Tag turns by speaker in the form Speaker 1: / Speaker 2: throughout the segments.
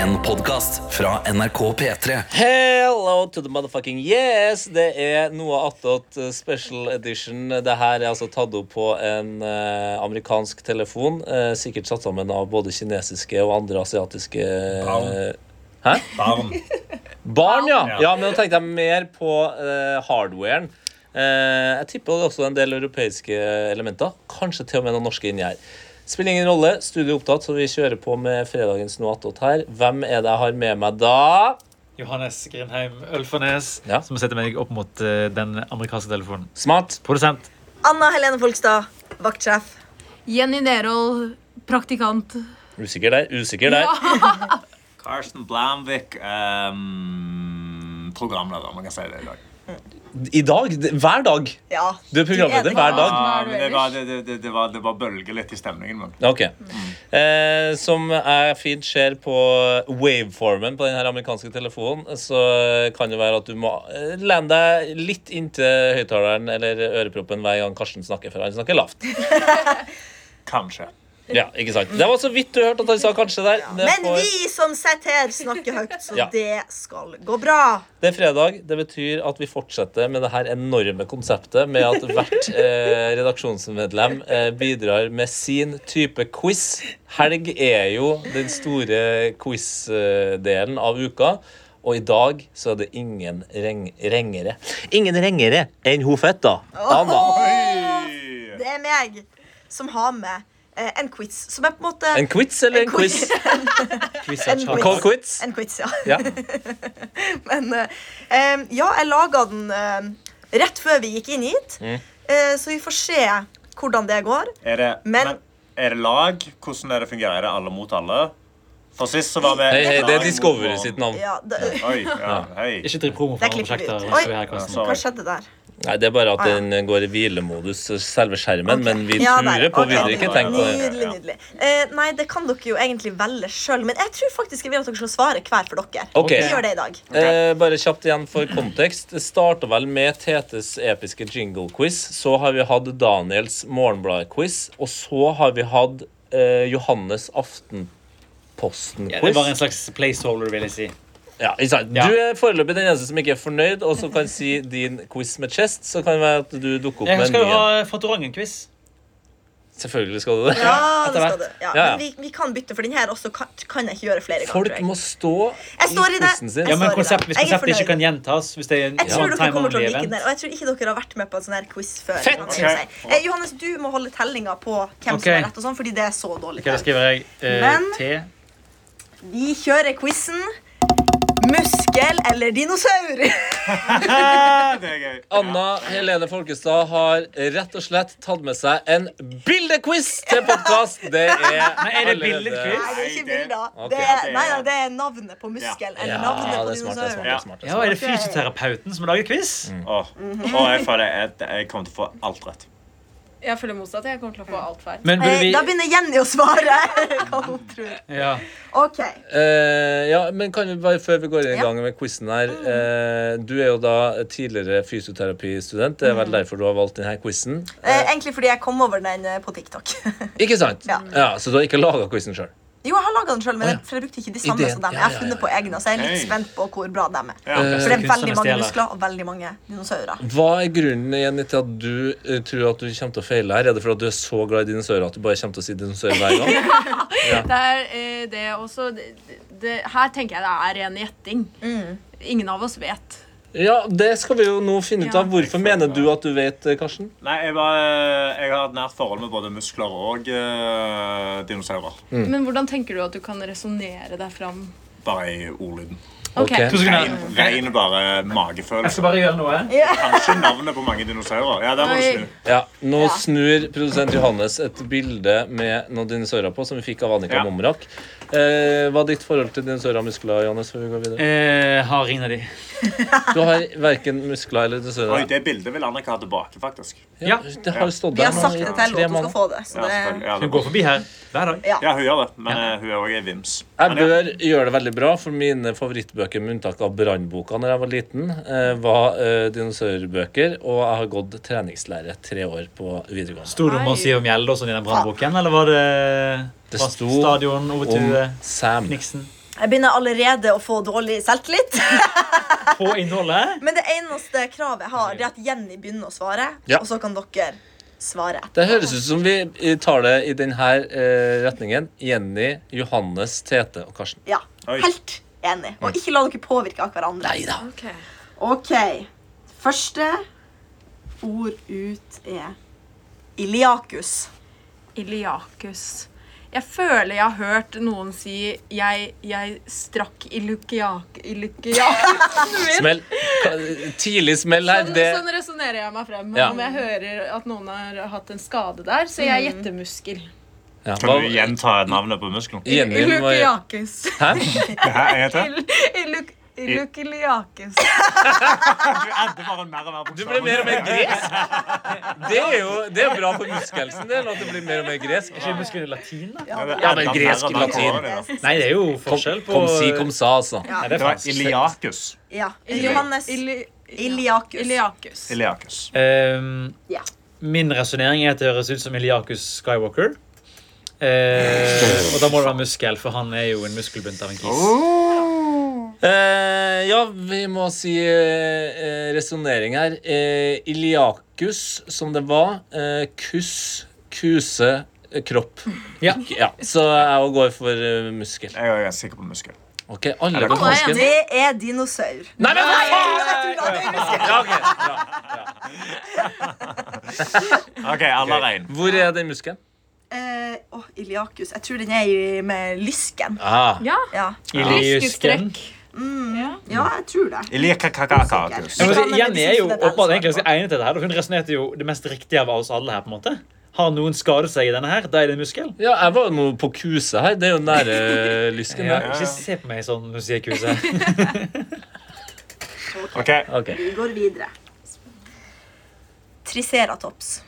Speaker 1: En podcast fra NRK P3
Speaker 2: Hello to the motherfucking yes! Det er Noah Attot eh, special edition. Det her er altså tatt opp på en eh, amerikansk telefon. eh, sikkert satt sammen av både kinesiske og andre asiatiske eh,
Speaker 3: Barn.
Speaker 2: barn. ja.
Speaker 3: Ja.
Speaker 2: ja, Men nå tenkte jeg mer på eh, hardwaren. Eh, jeg tipper det er også en del europeiske elementer. Kanskje til og med noen norske inni her. Spiller ingen rolle. Studio er opptatt, så vi kjører på med fredagens Noah Attot her. Hvem er det jeg har med meg da?
Speaker 3: Johannes Grindheim Ølfernes,
Speaker 2: Ja.
Speaker 3: som setter meg opp mot eh, den amerikanske telefonen.
Speaker 2: Smart.
Speaker 3: Produsent.
Speaker 4: Anna Helene Folkstad, vaktsjef.
Speaker 5: Jenny Derold, praktikant.
Speaker 2: Usikker der. Usikker der.
Speaker 6: Carsten Blamvik ehm, Programleder, man kan si det i dag.
Speaker 2: I dag? D- Hver dag?
Speaker 4: Ja,
Speaker 2: Du er programleder
Speaker 4: enig.
Speaker 2: hver dag?
Speaker 6: Ja, men det, var, det, det, det, det, var, det var bølger litt i stemningen min.
Speaker 2: Ok. Eh, som jeg fint ser på waveformen på den her amerikanske telefonen, så kan det være at du må eh, lene deg litt inntil høyttaleren eller øreproppen hver gang Karsten snakker, for han snakker lavt.
Speaker 6: Kanskje.
Speaker 2: Ja, ikke sant? Det var så vidt du hørte at han sa kanskje der. Det,
Speaker 4: Men
Speaker 2: får-
Speaker 4: vi som sitter her, snakker høyt, så
Speaker 2: Ja.
Speaker 4: det skal gå bra.
Speaker 2: det er fredag. Det betyr at vi fortsetter med det her enorme konseptet med at hvert eh, redaksjonsmedlem eh, bidrar med sin type quiz. Helg er jo den store quiz-delen av uka. Og i dag så er det ingen reng rengere Ingen rengere enn hun fetta. Anna.
Speaker 4: Det er meg som har med eh, en quiz, som er på en måte
Speaker 2: En quiz eller en quiz?
Speaker 3: Quiz
Speaker 4: En
Speaker 3: av Charles.
Speaker 2: Call quiz.
Speaker 4: En quiz, ja.
Speaker 2: Ja.
Speaker 4: Men eh, eh, ja, jeg laga den eh, rett før vi gikk inn hit,
Speaker 2: Mm.
Speaker 4: eh, så vi får se hvordan det går.
Speaker 6: Er det,
Speaker 4: Men-
Speaker 6: men, er det lag? Hvordan er det fungerer? Er det alle mot alle? For sist så var vi
Speaker 2: Hei, hei, det er
Speaker 6: lag mot
Speaker 2: Discovery
Speaker 6: noen.
Speaker 2: sitt navn.
Speaker 4: Ja, det,
Speaker 6: Oi, ja, hei.
Speaker 3: Ikke driv promo for
Speaker 4: Det
Speaker 3: andre
Speaker 4: klipper vi
Speaker 3: prosjekter.
Speaker 4: ut.
Speaker 3: hvis du er her,
Speaker 4: Oi.
Speaker 3: Karsten.
Speaker 6: Ja,
Speaker 4: hva skjedde der?
Speaker 2: Nei, Det er bare at
Speaker 4: Ah, ja.
Speaker 2: den går i hvilemodus, selve skjermen, men vi
Speaker 4: Ja, der.
Speaker 2: turer på. Vi
Speaker 4: Ok,
Speaker 2: vil ikke tenke på det.
Speaker 4: Nydelig, nydelig. Eh, nei, det kan dere jo egentlig velge sjøl, men jeg tror faktisk jeg vil at dere skal svare hver for dere.
Speaker 2: Ok.
Speaker 4: Vi gjør det i dag.
Speaker 2: Eh, bare kjapt igjen for kontekst. Det starta vel med Tetes episke jingle-quiz. Så har vi hatt Daniels morgenblad-quiz. Og så har vi hatt eh, Johannes
Speaker 3: Ja, det
Speaker 2: Aftenposten-quiz.
Speaker 3: var en slags placeholder, vil jeg si.
Speaker 2: Ja, ikke sant?
Speaker 3: Ja.
Speaker 2: Du er foreløpig den eneste som ikke er fornøyd, og som kan si din quiz med chest. Så kan det være at du dukker opp
Speaker 3: Jeg
Speaker 2: med en ny
Speaker 3: skal jo
Speaker 2: en.
Speaker 3: ha eh, Fantorangen-quiz.
Speaker 2: Selvfølgelig skal du det.
Speaker 4: Ja, det
Speaker 3: etter
Speaker 4: skal
Speaker 3: hvert.
Speaker 4: du.
Speaker 2: Ja,
Speaker 4: Ja,
Speaker 2: ja.
Speaker 4: men vi, vi kan bytte, for den her også kan, kan jeg ikke gjøre flere ganger.
Speaker 2: Folk
Speaker 4: tror jeg.
Speaker 2: må stå
Speaker 4: Jeg står i det.
Speaker 2: quizen sin.
Speaker 3: Ja, men
Speaker 4: Sorry,
Speaker 3: konsept,
Speaker 4: da.
Speaker 3: Hvis
Speaker 4: Jeg er
Speaker 3: konseptet ikke
Speaker 4: fornøyd.
Speaker 3: kan gjentas hvis det er en
Speaker 4: jeg tror
Speaker 3: one
Speaker 4: dere
Speaker 3: time
Speaker 4: kommer til å
Speaker 3: only
Speaker 4: like den,
Speaker 3: event
Speaker 4: der, og jeg tror ikke dere har vært med på en sånn her quiz før.
Speaker 2: Fett!
Speaker 4: kan jeg
Speaker 6: Ok.
Speaker 4: si. Eh, Johannes, du må holde tellinga på hvem
Speaker 3: Ok.
Speaker 4: som har rett, og sånn, fordi det er så dårlig.
Speaker 3: Ok, Da skriver jeg eh,
Speaker 4: Men-
Speaker 3: T.
Speaker 4: Vi kjører quizen Muskel eller dinosaur?
Speaker 6: Ah, Det er gøy.
Speaker 2: Anna Helene Folkestad har rett og slett tatt med seg en bildequiz til podkast. Det er
Speaker 3: Men er det
Speaker 2: allerede-
Speaker 3: bildequiz?
Speaker 4: Nei, det er ikke
Speaker 6: Nei, det-
Speaker 4: bilder.
Speaker 2: Ok.
Speaker 4: Det
Speaker 6: Ja, det
Speaker 4: er,
Speaker 6: er-
Speaker 4: nei, nei, det er navnet på muskel.
Speaker 2: Ja,
Speaker 4: Eller navnet
Speaker 2: det
Speaker 4: på
Speaker 2: er smart. Det er smart,
Speaker 4: dinosaur.
Speaker 2: det
Speaker 6: Ja.
Speaker 2: er smart, det er
Speaker 3: Ja,
Speaker 2: smart.
Speaker 3: Er det fysioterapeuten som lager quiz?
Speaker 6: Åh,
Speaker 4: Mhm.
Speaker 6: åh, jeg føler jeg, jeg kommer til å få alt rett.
Speaker 5: Jeg føler motsatt. Jeg kommer til å få alt feil.
Speaker 3: Men burde
Speaker 4: Eh,
Speaker 3: vi
Speaker 4: Da begynner Jenny å svare hva hun tror.
Speaker 3: ja.
Speaker 4: Ok,
Speaker 2: Eh, ja, men kan vi bare, før vi går i
Speaker 4: Ja. Mm.
Speaker 2: gang med quizen her eh, Du er jo da tidligere fysioterapistudent. Det er
Speaker 4: Mm.
Speaker 2: vel derfor du har valgt denne quizen.
Speaker 4: eh, Egentlig fordi jeg kom over den eh, på TikTok.
Speaker 2: Ikke sant?
Speaker 4: Ja.
Speaker 2: Så du har ikke laga quizen sjøl?
Speaker 4: Jo, jeg har laga den sjøl, men
Speaker 2: Å,
Speaker 4: jeg-
Speaker 2: ja.
Speaker 4: for jeg brukte ikke de samme
Speaker 2: Ideen.
Speaker 4: som dem.
Speaker 2: Ja,
Speaker 4: Jeg har
Speaker 2: ja, ja,
Speaker 4: funnet på egne, så jeg er litt
Speaker 6: Hey.
Speaker 4: spent på hvor bra dem er.
Speaker 6: Ja.
Speaker 4: For det er veldig
Speaker 3: Kunstnerne
Speaker 4: mange
Speaker 3: stjeler.
Speaker 4: muskler og veldig mange dinosaurer.
Speaker 2: Hva er grunnen igjen til at du eh, tror at du kommer til å feile her? Er det fordi at du er så glad i dinosaurer at du bare kommer til å si dinosaurer hver gang?
Speaker 5: Det er eh, det er også det, det, Her tenker jeg det er ren gjetting. Ingen av oss vet.
Speaker 2: ja, det skal vi jo nå finne ut
Speaker 5: Ja.
Speaker 2: av. Hvorfor mener du at du vet, eh, Karsten?
Speaker 6: Nei, jeg, var, eh, jeg har et nært forhold med både muskler og eh, dinosaurer.
Speaker 2: Mm.
Speaker 5: Men hvordan tenker du at du kan resonnere deg fram?
Speaker 6: Bare i ordlyden.
Speaker 5: Ok.
Speaker 2: Ok.
Speaker 3: Tusen
Speaker 6: Rein,
Speaker 3: takk.
Speaker 6: rein bare
Speaker 3: Jeg
Speaker 6: magefølelse.
Speaker 3: skal bare gjøre noe.
Speaker 6: Kanskje navnet på mange dinosaurer. Ja, der må du snu.
Speaker 2: Ja, Nå
Speaker 4: Ja.
Speaker 2: snur produsent Johannes et bilde med noen dinosaurer på, som vi fikk av Annika
Speaker 6: Ja.
Speaker 2: Momrak. Eh, hva er ditt forhold til dinosaurer og muskler? Johannes, før vi går videre?
Speaker 3: Eh, har ingen av de.
Speaker 2: Du har verken muskler eller
Speaker 6: Oi,
Speaker 2: dinosaurer.
Speaker 6: det bildet vil Annika ha tilbake, faktisk.
Speaker 2: Ja,
Speaker 3: Ja.
Speaker 2: det har stått
Speaker 4: Vi
Speaker 2: der
Speaker 4: har
Speaker 2: nå
Speaker 4: sagt
Speaker 2: i
Speaker 4: det til henne
Speaker 2: tre
Speaker 4: at hun skal
Speaker 2: måneder.
Speaker 4: få det. Så
Speaker 6: Ja, selvfølgelig.
Speaker 4: det
Speaker 6: Ja,
Speaker 3: Hun
Speaker 6: det-
Speaker 3: går forbi her hver dag.
Speaker 6: ja, hun gjør det, men eh, hun er også en vims.
Speaker 2: Jeg
Speaker 6: Men ja,
Speaker 2: bør gjøre det veldig bra, for mine favorittbøker, med unntak av Brannboka da jeg var liten, eh, var eh, dinosaurbøker, og jeg har gått treningslære tre år på videregående.
Speaker 3: Sto det noe om Siv Mjelde og sånn i den brannboken, eller var det,
Speaker 2: Det
Speaker 3: fra
Speaker 2: sto
Speaker 3: stadion over til
Speaker 2: Om
Speaker 3: eh,
Speaker 2: Sam.
Speaker 3: Kniksen?
Speaker 4: Jeg begynner allerede å få dårlig selvtillit.
Speaker 3: På innholdet.
Speaker 4: Men det eneste kravet jeg har, det er at Jenny begynner å svare,
Speaker 2: Ja.
Speaker 4: og så kan dere svare etter.
Speaker 2: Det høres ut som vi eh, tar det i denne eh, retningen. Jenny, Johannes, Tete og Karsten.
Speaker 4: Ja.
Speaker 6: Oi.
Speaker 4: Helt enig.
Speaker 2: Mm.
Speaker 4: Og ikke la dere påvirke av hverandre.
Speaker 1: Neida.
Speaker 5: Ok.
Speaker 4: OK. Første ord ut er Iliakus.
Speaker 5: Iliakus. Jeg føler jeg har hørt noen si jeg, jeg strakk ilukiak... Ilukiakusen min.
Speaker 2: Smell. Ka- Tidlig smell her.
Speaker 5: Sånn,
Speaker 2: Det
Speaker 5: sånn resonnerer jeg meg frem
Speaker 2: Ja.
Speaker 5: om jeg hører at noen har hatt en skade der. Så jeg gjetter muskel. sånn.
Speaker 2: ja,
Speaker 6: Kan du
Speaker 2: hva,
Speaker 6: gjenta navnet på muskelen?
Speaker 2: Jenny må
Speaker 5: Ilukiakus.
Speaker 2: Hæ?
Speaker 6: Hæ, jeg heter
Speaker 5: Iluk- Ilukiliakus.
Speaker 6: Du endte bare mer og mer
Speaker 2: Du blir mer og mer gresk. Det er jo det er bra for muskelsen din at du blir mer og mer gresk.
Speaker 3: Ikke muskler latin, da?
Speaker 2: Ja, men gresk latin.
Speaker 3: Nei, det er jo forskjell på
Speaker 2: Kom si, kom sa, altså.
Speaker 3: Nei,
Speaker 4: Ja.
Speaker 3: det
Speaker 6: Det
Speaker 3: er
Speaker 6: var
Speaker 3: fransk.
Speaker 6: Iliakus.
Speaker 4: Ja. Johannes
Speaker 5: Ili-
Speaker 4: Iliakus.
Speaker 5: Iliakus.
Speaker 6: Iliakus.
Speaker 3: Ehm,
Speaker 4: Ja.
Speaker 3: Min resonnering er at det høres ut som Iliakus Skywalker. Eh, og da må det være muskel, for han er jo en muskelbunt av en kis.
Speaker 2: Eh, ja, vi må si eh, resonnering her. Eh, Iliakus, som det var. Eh, kuss, kuse, eh, kropp.
Speaker 3: Ja.
Speaker 2: Ja, Så jeg òg går for eh, muskel.
Speaker 6: Jeg er ganske sikker på muskel.
Speaker 2: Ok, alle går for
Speaker 5: Alle er
Speaker 2: muskel.
Speaker 4: Det er dinosaur.
Speaker 2: Nei, men hva faen!
Speaker 4: Jeg tror det er muskel.
Speaker 2: Ja, ok, bra.
Speaker 6: OK, alle har én.
Speaker 2: Hvor er den muskelen?
Speaker 4: Eh, åh, Iliakus. Jeg tror den er i- med lysken.
Speaker 2: Ah,
Speaker 5: Ja.
Speaker 4: Ja. Mm.
Speaker 3: Iliusken.
Speaker 5: Lyskestrekk.
Speaker 4: ja, jeg tror det.
Speaker 6: Iliakakakakus.
Speaker 3: Ja, men
Speaker 4: Ja, men
Speaker 3: så Jenny er jo
Speaker 4: liksom det er det
Speaker 3: åpenbart
Speaker 4: som er
Speaker 3: egentlig ganske egnet til det her. og Hun resonnerte jo det mest riktige av oss alle her. på en måte. Har noen skadet seg i denne her, da er det en muskel.
Speaker 2: ja, jeg var nå på kuse her. Det er jo nære lysken.
Speaker 3: Ja,
Speaker 2: der.
Speaker 3: ikke se på meg sånn når du sier kuse.
Speaker 6: OK.
Speaker 2: Ok.
Speaker 4: Vi går videre. Triceratops.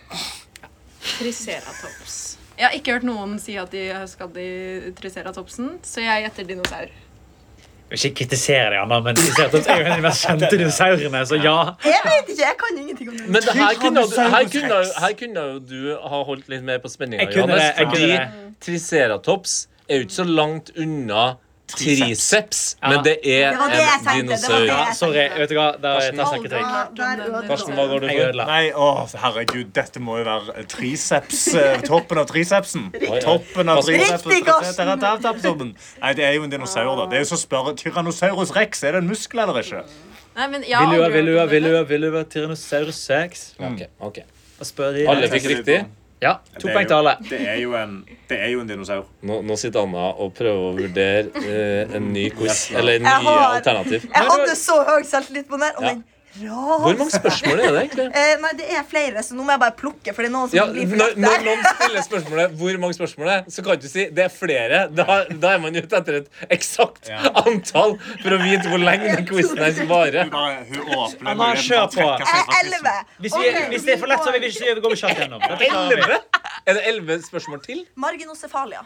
Speaker 5: Triceratops. Jeg har ikke hørt noen si at de er skadd i triceratopsen, så jeg gjetter dinosaur.
Speaker 3: Jeg vil ikke kritisere de andre, men Triceratops er jo en av de mest kjente dinosaurene. Så ja.
Speaker 4: Jeg vet ikke, jeg kan ingenting om
Speaker 2: Men
Speaker 4: det.
Speaker 2: det her kunne,
Speaker 6: Tyrannosaurus
Speaker 2: her, kunne,
Speaker 6: rex.
Speaker 2: her kunne jo du ha holdt litt mer på spenninga,
Speaker 3: Jeg kunne
Speaker 2: Johannes.
Speaker 3: det, jeg
Speaker 2: fordi
Speaker 3: kunne
Speaker 2: triceratops er jo ikke så langt unna triceps,
Speaker 3: Ja.
Speaker 2: men det er
Speaker 4: Det var det jeg
Speaker 2: en
Speaker 4: tenkte, det var
Speaker 2: dinosaur.
Speaker 4: det.
Speaker 3: ja sorry, vet du hva? Da tar jeg
Speaker 4: Aldri
Speaker 3: selvkritikk.
Speaker 4: hørt om den
Speaker 2: Karsten, hva
Speaker 4: dinosaur.
Speaker 2: går du
Speaker 3: Jeg
Speaker 2: for?
Speaker 3: ødela.
Speaker 6: Nei, å, herregud, dette må jo være triceps. eh, Toppen av tricepsen. Toppen av
Speaker 2: Riktig,
Speaker 6: tricepsen.
Speaker 4: Karsten.
Speaker 6: Triceratops-toppen. Nei, det er jo en dinosaur, da. Det er jo så å spørre Tyrannosaurus rex. Er det en muskel eller ikke?
Speaker 5: Nei, men jeg har
Speaker 3: Vil du ha,
Speaker 5: aldri
Speaker 3: vil du ha,
Speaker 5: hørt om
Speaker 3: vil du
Speaker 5: det.
Speaker 3: ha, vil du ha Tyrannosaurus rex?
Speaker 2: Ok, ok.
Speaker 3: Og spør de
Speaker 2: Alle fikk riktig.
Speaker 3: Ja, to poeng til alle.
Speaker 6: Det er jo en, dinosaur.
Speaker 2: Nå, nå sitter Anna og prøver å vurdere eh, en ny quiz, eller nye
Speaker 4: Jeg har-
Speaker 2: alternativ.
Speaker 4: Jeg hadde så høy selvtillit på den her, og
Speaker 2: Ja.
Speaker 4: den
Speaker 2: Hvor mange
Speaker 4: ras.
Speaker 2: spørsmål er det egentlig?
Speaker 4: Eh, nei, det er flere, så nå må jeg bare plukke, for det er noen som
Speaker 2: Ja,
Speaker 4: blir
Speaker 2: når,
Speaker 4: for
Speaker 2: når
Speaker 4: lett der.
Speaker 2: noen stiller spørsmålet 'hvor mange spørsmål er', så kan du si 'det er flere'. Da, da er man ute etter et eksakt antall for å vite hvor lenge den quizen her skal vare.
Speaker 6: Hun bare, hun åpner
Speaker 3: Anna,
Speaker 6: muligheten for å
Speaker 3: kjør på.
Speaker 6: trekke
Speaker 4: Jeg
Speaker 6: seg
Speaker 4: er
Speaker 6: fra quizen.
Speaker 4: Eh, elleve.
Speaker 3: Hvis, vi, hvis det er for lett, så vil vi ikke gå kjapt gjennom. Dette klarer vi.
Speaker 2: Elleve? Er det elleve spørsmål til?
Speaker 4: Marginocefalia.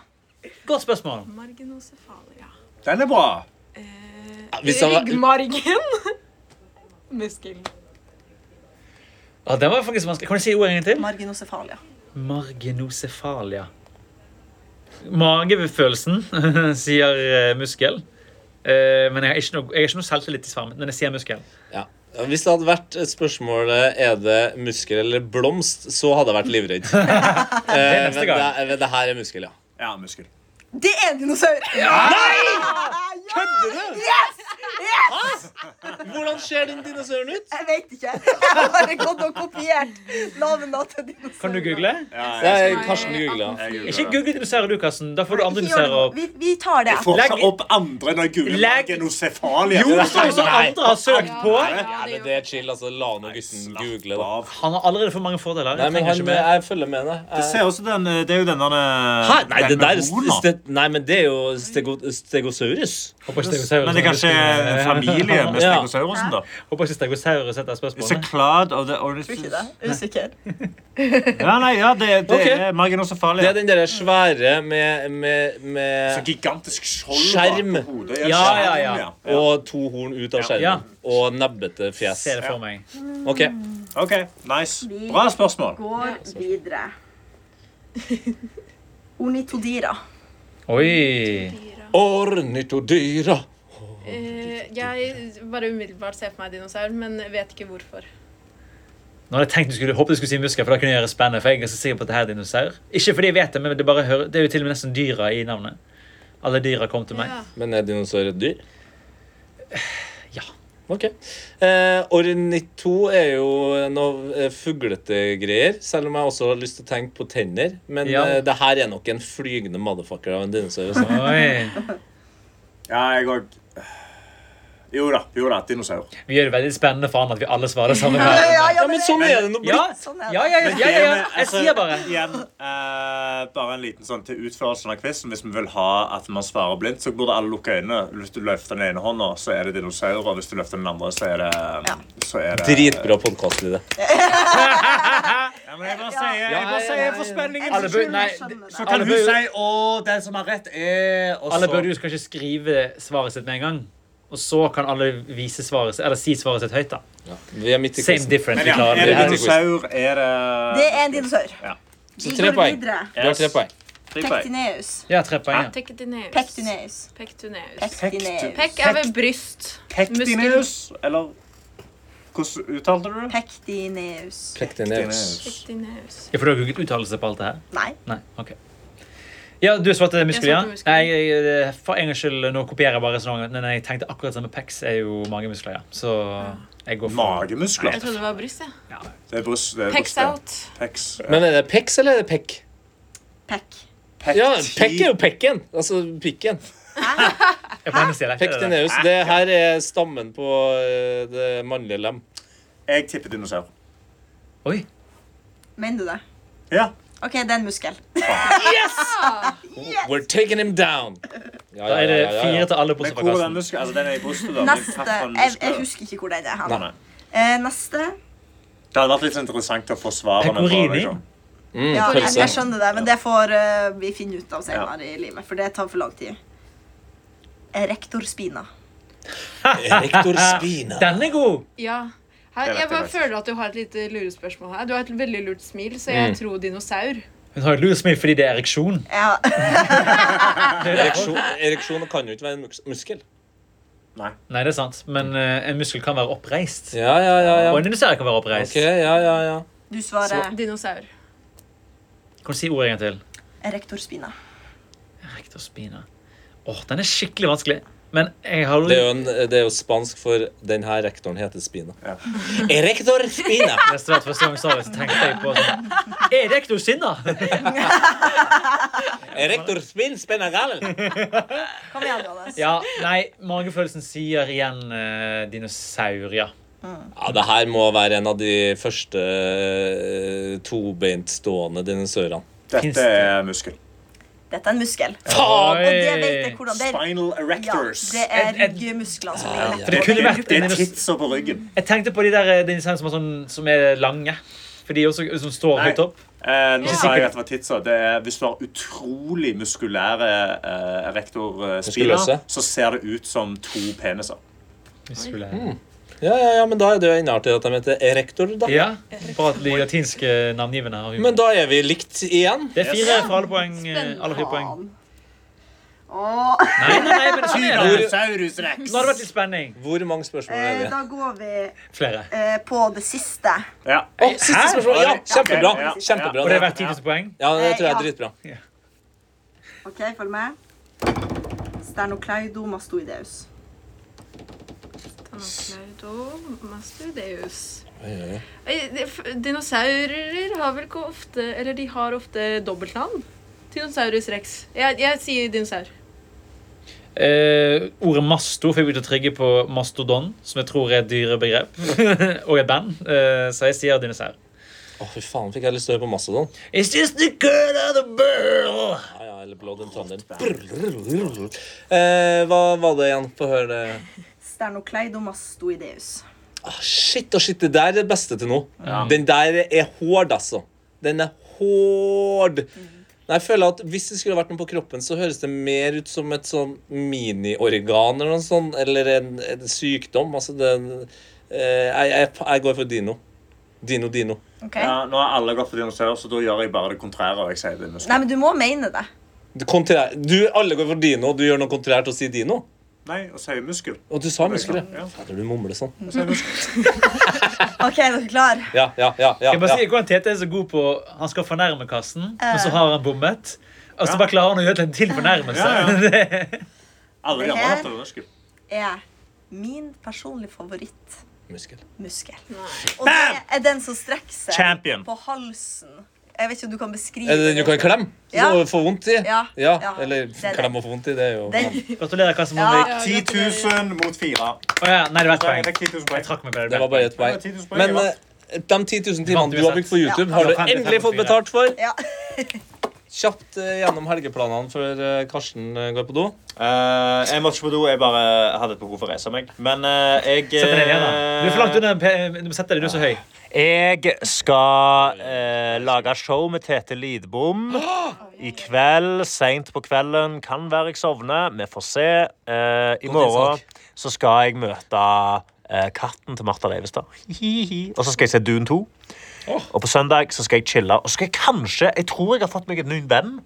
Speaker 3: Godt spørsmål.
Speaker 5: Marginocefalia.
Speaker 6: Den er bra.
Speaker 2: Hvis han var-
Speaker 5: Ryggmargen. Muskel.
Speaker 3: Ja, den var faktisk vanskelig. Kan du si ordet en gang til?
Speaker 4: Marginocefalia.
Speaker 3: Marginocefalia. Magefølelsen sier eh, muskel. Eh, men jeg har ikke noe, jeg har ikke noe selvtillit i svaret mitt, men jeg sier muskel.
Speaker 2: Ja. Hvis det hadde vært spørsmålet er det muskel eller blomst, så hadde jeg vært livredd. Eh,
Speaker 3: neste
Speaker 2: men,
Speaker 3: gang.
Speaker 2: det, men det her er muskel, ja.
Speaker 6: Ja, muskel.
Speaker 4: Det er en dinosaur! Nei!
Speaker 2: Kødder du?
Speaker 4: Yes! Yes!
Speaker 2: Hvordan ser den dinosauren ut?
Speaker 4: Jeg vet ikke. Jeg har bare gått og kopiert navnene til dinosaurer.
Speaker 3: Kan du google?
Speaker 6: Ja,
Speaker 2: Det
Speaker 6: jeg,
Speaker 2: er Karsten Gugla.
Speaker 6: jeg,
Speaker 3: Ikke google dinosaurer, du, Karsten. Da får du andre
Speaker 4: Ikke gjør det nå.
Speaker 3: dinosaurer. opp.
Speaker 4: Vi, vi tar det.
Speaker 6: jeg får ikke
Speaker 3: Legg-
Speaker 6: opp andre når jeg googler
Speaker 3: Legg-
Speaker 6: genocefalia.
Speaker 3: Jo, det står jo som andre har søkt på.
Speaker 2: Ja, men det er chill, altså. La nå gutten google, da.
Speaker 6: Av.
Speaker 3: Han har allerede for mange fordeler.
Speaker 2: Nei,
Speaker 3: Jeg
Speaker 2: men
Speaker 3: trenger
Speaker 2: han,
Speaker 3: ikke mer.
Speaker 2: jeg følger med deg.
Speaker 6: Det
Speaker 2: Jeg-
Speaker 6: ser også den, eh, det er jo den der
Speaker 2: Hæ? Nei, det
Speaker 6: den
Speaker 2: der
Speaker 6: Eh, med
Speaker 2: er
Speaker 6: horn, da.
Speaker 2: ste- Nei, men det er jo stego, stegosaurus.
Speaker 3: Håper ikke stegosaurus-
Speaker 6: Men det er kanskje
Speaker 3: eh,
Speaker 6: en familie med
Speaker 2: Ja.
Speaker 6: stegosaurusen, da.
Speaker 3: Håper ikke stegosaurus setter
Speaker 6: It's a
Speaker 3: spørsmålet.
Speaker 6: cloud of the or-
Speaker 4: Tror ikke det. Usikker.
Speaker 6: Ja, nei, ja, det, det
Speaker 2: Ok.
Speaker 6: er marginocefalia.
Speaker 2: Det er den derre svære med, med,
Speaker 6: Så
Speaker 2: med
Speaker 6: gigantisk skjold
Speaker 2: Skjerm.
Speaker 6: bak på hodet.
Speaker 3: Ja,
Speaker 6: skjerm,
Speaker 3: ja, ja.
Speaker 2: Og to horn ut av
Speaker 3: Ja.
Speaker 2: skjermen. Og nebbete fjes.
Speaker 3: Ser det for meg.
Speaker 2: Ok,
Speaker 6: OK, nice. Bra spørsmål.
Speaker 4: Går videre. Ornitodira.
Speaker 3: Oi.
Speaker 5: Dyra.
Speaker 2: Ornitodyra.
Speaker 5: Eh, jeg bare umiddelbart ser for meg dinosaur, men vet ikke hvorfor.
Speaker 3: Nå hadde jeg tenkt du skulle, håpet du skulle si muskel, for da kunne jeg gjøre spennende. For jeg er så sikker på at det her er dinosaur. Ikke fordi jeg vet det, men det, bare hører, det er jo til og med nesten dyra i navnet. Alle dyra kom til meg.
Speaker 5: Ja.
Speaker 2: Men er dinosaur et dyr?
Speaker 3: ja.
Speaker 2: Ok. Eh, ornito er jo noe eh, fuglete greier, selv om jeg også har lyst til å tenke på tenner. Men
Speaker 3: Ja.
Speaker 2: eh, det her er nok en flygende motherfucker av en dinosaur. altså.
Speaker 3: Oi.
Speaker 6: Ja, jeg òg Jo da, jo da, dinosaur.
Speaker 3: Vi gjør det veldig spennende for han at vi alle svarer det samme.
Speaker 4: Ja,
Speaker 3: her.
Speaker 4: ja,
Speaker 2: Ja, men sånn er det nå
Speaker 3: Ja,
Speaker 2: blitt.
Speaker 4: Sånn er det.
Speaker 3: ja, ja, ja, ja, ja. Jeg sier bare.
Speaker 6: altså, Igjen, eh, bare en liten sånn til utførelsen av quizen. Hvis vi vil ha at man svarer blindt, så burde alle lukke øynene. Hvis du løfter den ene hånda, så er det dinosaurer. Hvis du løfter den andre, så er det, så er det
Speaker 2: Dritbra podkastlyd.
Speaker 6: Ja, men jeg bare sier, jeg bare
Speaker 2: ja,
Speaker 6: sier
Speaker 2: ja,
Speaker 6: for
Speaker 2: ja.
Speaker 6: spenningen
Speaker 3: Alle
Speaker 6: sin
Speaker 3: bør,
Speaker 6: skyld.
Speaker 3: nei,
Speaker 6: Så
Speaker 3: alle
Speaker 6: kan hun
Speaker 3: bør-
Speaker 6: si 'Å, den som har rett, er' og
Speaker 3: alle
Speaker 6: så-
Speaker 3: bør du skal ikke skrive svaret sitt med en gang. Og så kan alle vise svaret sitt, eller si svaret sitt høyt. da.
Speaker 2: Ja. Vi er midt i
Speaker 3: Same
Speaker 2: quizen.
Speaker 3: difference.
Speaker 6: Men
Speaker 3: Vi
Speaker 6: ja,
Speaker 3: klarer
Speaker 6: er
Speaker 3: det.
Speaker 6: det
Speaker 3: her.
Speaker 6: dinosaur? Er det
Speaker 4: Det er en dinosaur.
Speaker 2: Så
Speaker 4: Vi
Speaker 2: tre
Speaker 4: går
Speaker 2: poeng. Du
Speaker 4: videre.
Speaker 2: har tre poeng.
Speaker 4: Pektineus.
Speaker 3: Ja, tre poeng. ja.
Speaker 5: Pektineus.
Speaker 4: Pektineus.
Speaker 5: Pektineus.
Speaker 4: Pektineus.
Speaker 5: Pekk er ved bryst. Muskel.
Speaker 6: Pektinus? Eller hvordan uttalte du det?
Speaker 4: Pektineus.
Speaker 2: Pektineus.
Speaker 5: Pektineus.
Speaker 3: Ja, For du har jo ikke uttalelse på alt det her?
Speaker 4: Nei.
Speaker 3: Nei, ok. Ja, du svarte muskel, ja?
Speaker 5: svarte muskel.
Speaker 3: Nei, jeg, jeg- for en gangs skyld, nå kopierer jeg bare sånn, men jeg tenkte akkurat det samme pecs er jo magemuskler, ja. Så jeg går for...
Speaker 6: Magemuskler.
Speaker 5: Jeg trodde det var bryst, jeg. Ja.
Speaker 3: Ja.
Speaker 6: Det er bryst. det er
Speaker 5: Pecs
Speaker 6: brystet.
Speaker 5: out.
Speaker 6: Pecs.
Speaker 2: Men er det peks eller er det pekk?
Speaker 4: Pekk.
Speaker 2: Ja, pekk er jo pekken. Altså pikken.
Speaker 3: Jeg på hennes side, det er det.
Speaker 2: Pektineus. Det her er stammen på eh, det mannlige lem.
Speaker 6: Jeg tipper dinosaur.
Speaker 3: Oi,
Speaker 4: Mener du det?
Speaker 6: Ja.
Speaker 4: OK, det er en muskel.
Speaker 2: We're taking him down. Ja, ja,
Speaker 3: da er
Speaker 2: ja,
Speaker 3: det
Speaker 2: ja, ja.
Speaker 3: fire til alle bortsett
Speaker 6: Men
Speaker 3: fra
Speaker 6: hvor er den
Speaker 3: kassen.
Speaker 6: muskelen? Altså, den er i brystet, da. men
Speaker 4: Neste
Speaker 6: hva for en
Speaker 4: Jeg,
Speaker 6: muskel?
Speaker 4: jeg husker ikke hvor den er.
Speaker 6: Nei.
Speaker 4: hen. Eh, neste.
Speaker 6: Det hadde vært litt så interessant å få svarene. fra
Speaker 3: Pecorini?
Speaker 6: liksom.
Speaker 2: Mm,
Speaker 4: Ja, jeg,
Speaker 2: pølse.
Speaker 4: jeg skjønner det, men det får eh, vi finne ut av senere i livet, for det tar for lang tid. Eh, Rektorspina.
Speaker 2: Rektor Spina.
Speaker 3: Den er god!
Speaker 5: ja. Her,
Speaker 6: Det
Speaker 5: jeg
Speaker 6: vet jeg
Speaker 5: bare
Speaker 6: faktisk.
Speaker 5: føler at du har et lite lurespørsmål her. Du har et veldig lurt smil, så jeg tror dinosaur.
Speaker 3: Hun har jo luresmil fordi det er ereksjon.
Speaker 4: Ja.
Speaker 2: Ereksjon, ereksjon kan jo ikke være en mus- muskel.
Speaker 6: Nei.
Speaker 3: Nei, det er sant, men eh, en muskel kan være oppreist.
Speaker 2: Ja, ja, ja. ja.
Speaker 3: Og en dinosaur kan være oppreist.
Speaker 2: Ok, ja, ja, ja.
Speaker 4: Du svarer
Speaker 5: Dinosaur.
Speaker 3: Kan du si ordet en gang til?
Speaker 4: rektorspina.
Speaker 3: Rektor Spina. Åh, den er skikkelig vanskelig. Men jeg har...
Speaker 2: Det er jo, en, det er jo spansk for den her rektoren heter Spina.
Speaker 6: Ja.
Speaker 2: Rektor Spina!
Speaker 3: Neste hvert første gang jeg sa det, så tenkte jeg på sånn... Er det ektor sinna?
Speaker 2: Rektor Spin Spina Galen.
Speaker 4: Kom igjen, Johannes.
Speaker 3: Ja, nei, magefølelsen sier igjen eh, dinosaur, ja.
Speaker 2: Ja, det her må være en av de første eh, tobeintstående dinosaurene.
Speaker 3: Finns
Speaker 6: Dette
Speaker 3: det?
Speaker 6: er muskel.
Speaker 4: Dette er en muskel.
Speaker 3: Faen!
Speaker 4: Og det vet jeg hvordan det er.
Speaker 6: Spinal
Speaker 4: Ja,
Speaker 6: erectors.
Speaker 4: det er
Speaker 3: En- en-
Speaker 4: ryggmusklene som ligger
Speaker 3: For det
Speaker 4: rett
Speaker 3: kunne
Speaker 4: over.
Speaker 3: vært
Speaker 6: Det
Speaker 3: en
Speaker 6: er
Speaker 3: dinos...
Speaker 6: titser på ryggen.
Speaker 3: Jeg tenkte på de der eh, dinosaurene som, er sånn, som er lange. For de også, som står
Speaker 6: Nei.
Speaker 3: høyt opp.
Speaker 6: Eh, nå
Speaker 5: Ja.
Speaker 6: sa jeg at det var titser. Det er, hvis du har utrolig muskulære eh, erector eh, spina,
Speaker 2: Muskuløse.
Speaker 6: så ser det ut som to peniser.
Speaker 3: Muskulær.
Speaker 2: Mm. Ja, ja, ja, men da er det jo innartig at de heter Erektor, da.
Speaker 3: Ja, bra at de latinske navngivende har humor.
Speaker 2: Men da er vi likt igjen.
Speaker 3: Det er fire for alle poeng. eh, Alle fire poeng.
Speaker 4: Åh.
Speaker 3: Nei, nei, nei, men sånn er det.
Speaker 6: Tyrannosaurus rex.
Speaker 3: Nå har det vært litt spenning.
Speaker 2: Hvor mange spørsmål er
Speaker 4: Eh,
Speaker 2: det?
Speaker 4: Da går vi
Speaker 3: Flere.
Speaker 4: eh, på det siste.
Speaker 6: Ja.
Speaker 2: Å, siste
Speaker 3: Hæ?
Speaker 2: spørsmål! Ja, kjempebra.
Speaker 6: Ja, ja, ja.
Speaker 2: kjempebra
Speaker 3: Og det
Speaker 2: det.
Speaker 3: har vært 10 000 poeng.
Speaker 2: Ja, det tror jeg er
Speaker 4: Eh, ja.
Speaker 2: dritbra.
Speaker 4: OK, følg med. Sternocleidomastoideus.
Speaker 5: Stanocleidomastoideus.
Speaker 2: Oi, oi, oi.
Speaker 5: Ei, de- f- Dinosaurer har vel ikke ofte Eller de har ofte dobbeltnavn. Dinosaurus rex. Jeg, jeg sier dinosaur.
Speaker 3: Eh, ordet masto fikk meg til å trigge på mastodon, som jeg tror er et dyrebegrep. og et band. Eh, så jeg sier dinosaur.
Speaker 2: Å, fy faen, fikk jeg lyst til å høre på sånn. Mastodon.
Speaker 3: Is this the good of the barrel?
Speaker 2: Ja, ja, eller Blood and Thunder. Eh, hva var det igjen? Få høre det.
Speaker 4: Sternocleidomastoideus.
Speaker 2: Ah, shit og shit, det der er det beste til nå. Den der er hård, altså. Den er hård.
Speaker 4: Mm.
Speaker 2: Nei, jeg føler at Hvis det skulle vært noe på kroppen, så høres det mer ut som et sånn miniorgan eller noe sånt, eller en, en sykdom. Altså, den eh, jeg, jeg, jeg går for dino. Dino, dino.
Speaker 4: OK?
Speaker 6: Ja, nå har alle gått for dinosaur, så da gjør jeg bare det kontrære. og jeg sier dinosaur.
Speaker 4: Nei, men du må mene det.
Speaker 2: Kontrær. Du, alle går for dino, og du gjør noe kontrært og sier dino.
Speaker 6: Nei, og sier muskel.
Speaker 2: Og du sa muskler.
Speaker 6: Ja.
Speaker 2: Fader, du mumler sånn.
Speaker 4: OK, er dere klar?
Speaker 2: Ja, ja, ja. ja,
Speaker 3: Jeg bare
Speaker 2: ja.
Speaker 3: sier hvordan Tete er så god på Han skal fornærme Karsten, men så
Speaker 4: Eh.
Speaker 3: har han bommet. Og så
Speaker 6: Ja.
Speaker 3: bare klarer han å gjøre en til fornærmelse.
Speaker 6: Ja, ja.
Speaker 3: Mm. Det-
Speaker 6: Alle de
Speaker 4: Det her-
Speaker 6: andre har hatt det muskel.
Speaker 4: Er min personlige favorittmuskel.
Speaker 2: Muskel.
Speaker 4: Og det er den som strekker seg
Speaker 6: Champion.
Speaker 4: på halsen. Jeg vet ikke om du kan beskrive
Speaker 2: Er det den du kan klemme?
Speaker 4: Ja.
Speaker 2: Og få vondt i?
Speaker 4: Ja,
Speaker 2: ja.
Speaker 4: ja.
Speaker 2: Eller
Speaker 4: Det er det.
Speaker 2: klemme og få vondt i, det er jo
Speaker 4: Den,
Speaker 3: Gratulerer, Karsten
Speaker 4: Ja.
Speaker 3: Monvik.
Speaker 6: 10 000 mot 4.
Speaker 3: Å ja, nei, det var et poeng.
Speaker 6: Jeg fikk 10 000
Speaker 3: Jeg
Speaker 6: poeng.
Speaker 3: trakk meg på det.
Speaker 2: Det var bare ett
Speaker 6: Det var 10
Speaker 2: poeng.
Speaker 6: 000 poeng,
Speaker 2: Men
Speaker 6: jeg
Speaker 2: eh, de 10 000 timene du har brukt på YouTube, har
Speaker 3: Ja.
Speaker 2: du endelig fått betalt for.
Speaker 4: ja.
Speaker 2: Kjapt eh, gjennom helgeplanene før eh, Karsten eh, går på do.
Speaker 6: Eh, jeg måtte ikke på do. Jeg bare hadde et behov for å reise meg. Men eh, jeg
Speaker 3: Sett deg ned igjen, da. Du er for langt
Speaker 6: eh,
Speaker 3: unna. en pe- Du må sette deg, du er så høy.
Speaker 6: Jeg skal eh, lage show med Tete Lidbom i kveld. Seint på kvelden. Kan være jeg sovner. Vi får se. Eh, I morgen så skal jeg møte eh, katten til Martha Leivestad. Hihihi. Og så skal jeg se Dune 2. Og på søndag så skal jeg chille. Og så skal jeg kanskje Jeg tror jeg har fått meg en ny venn.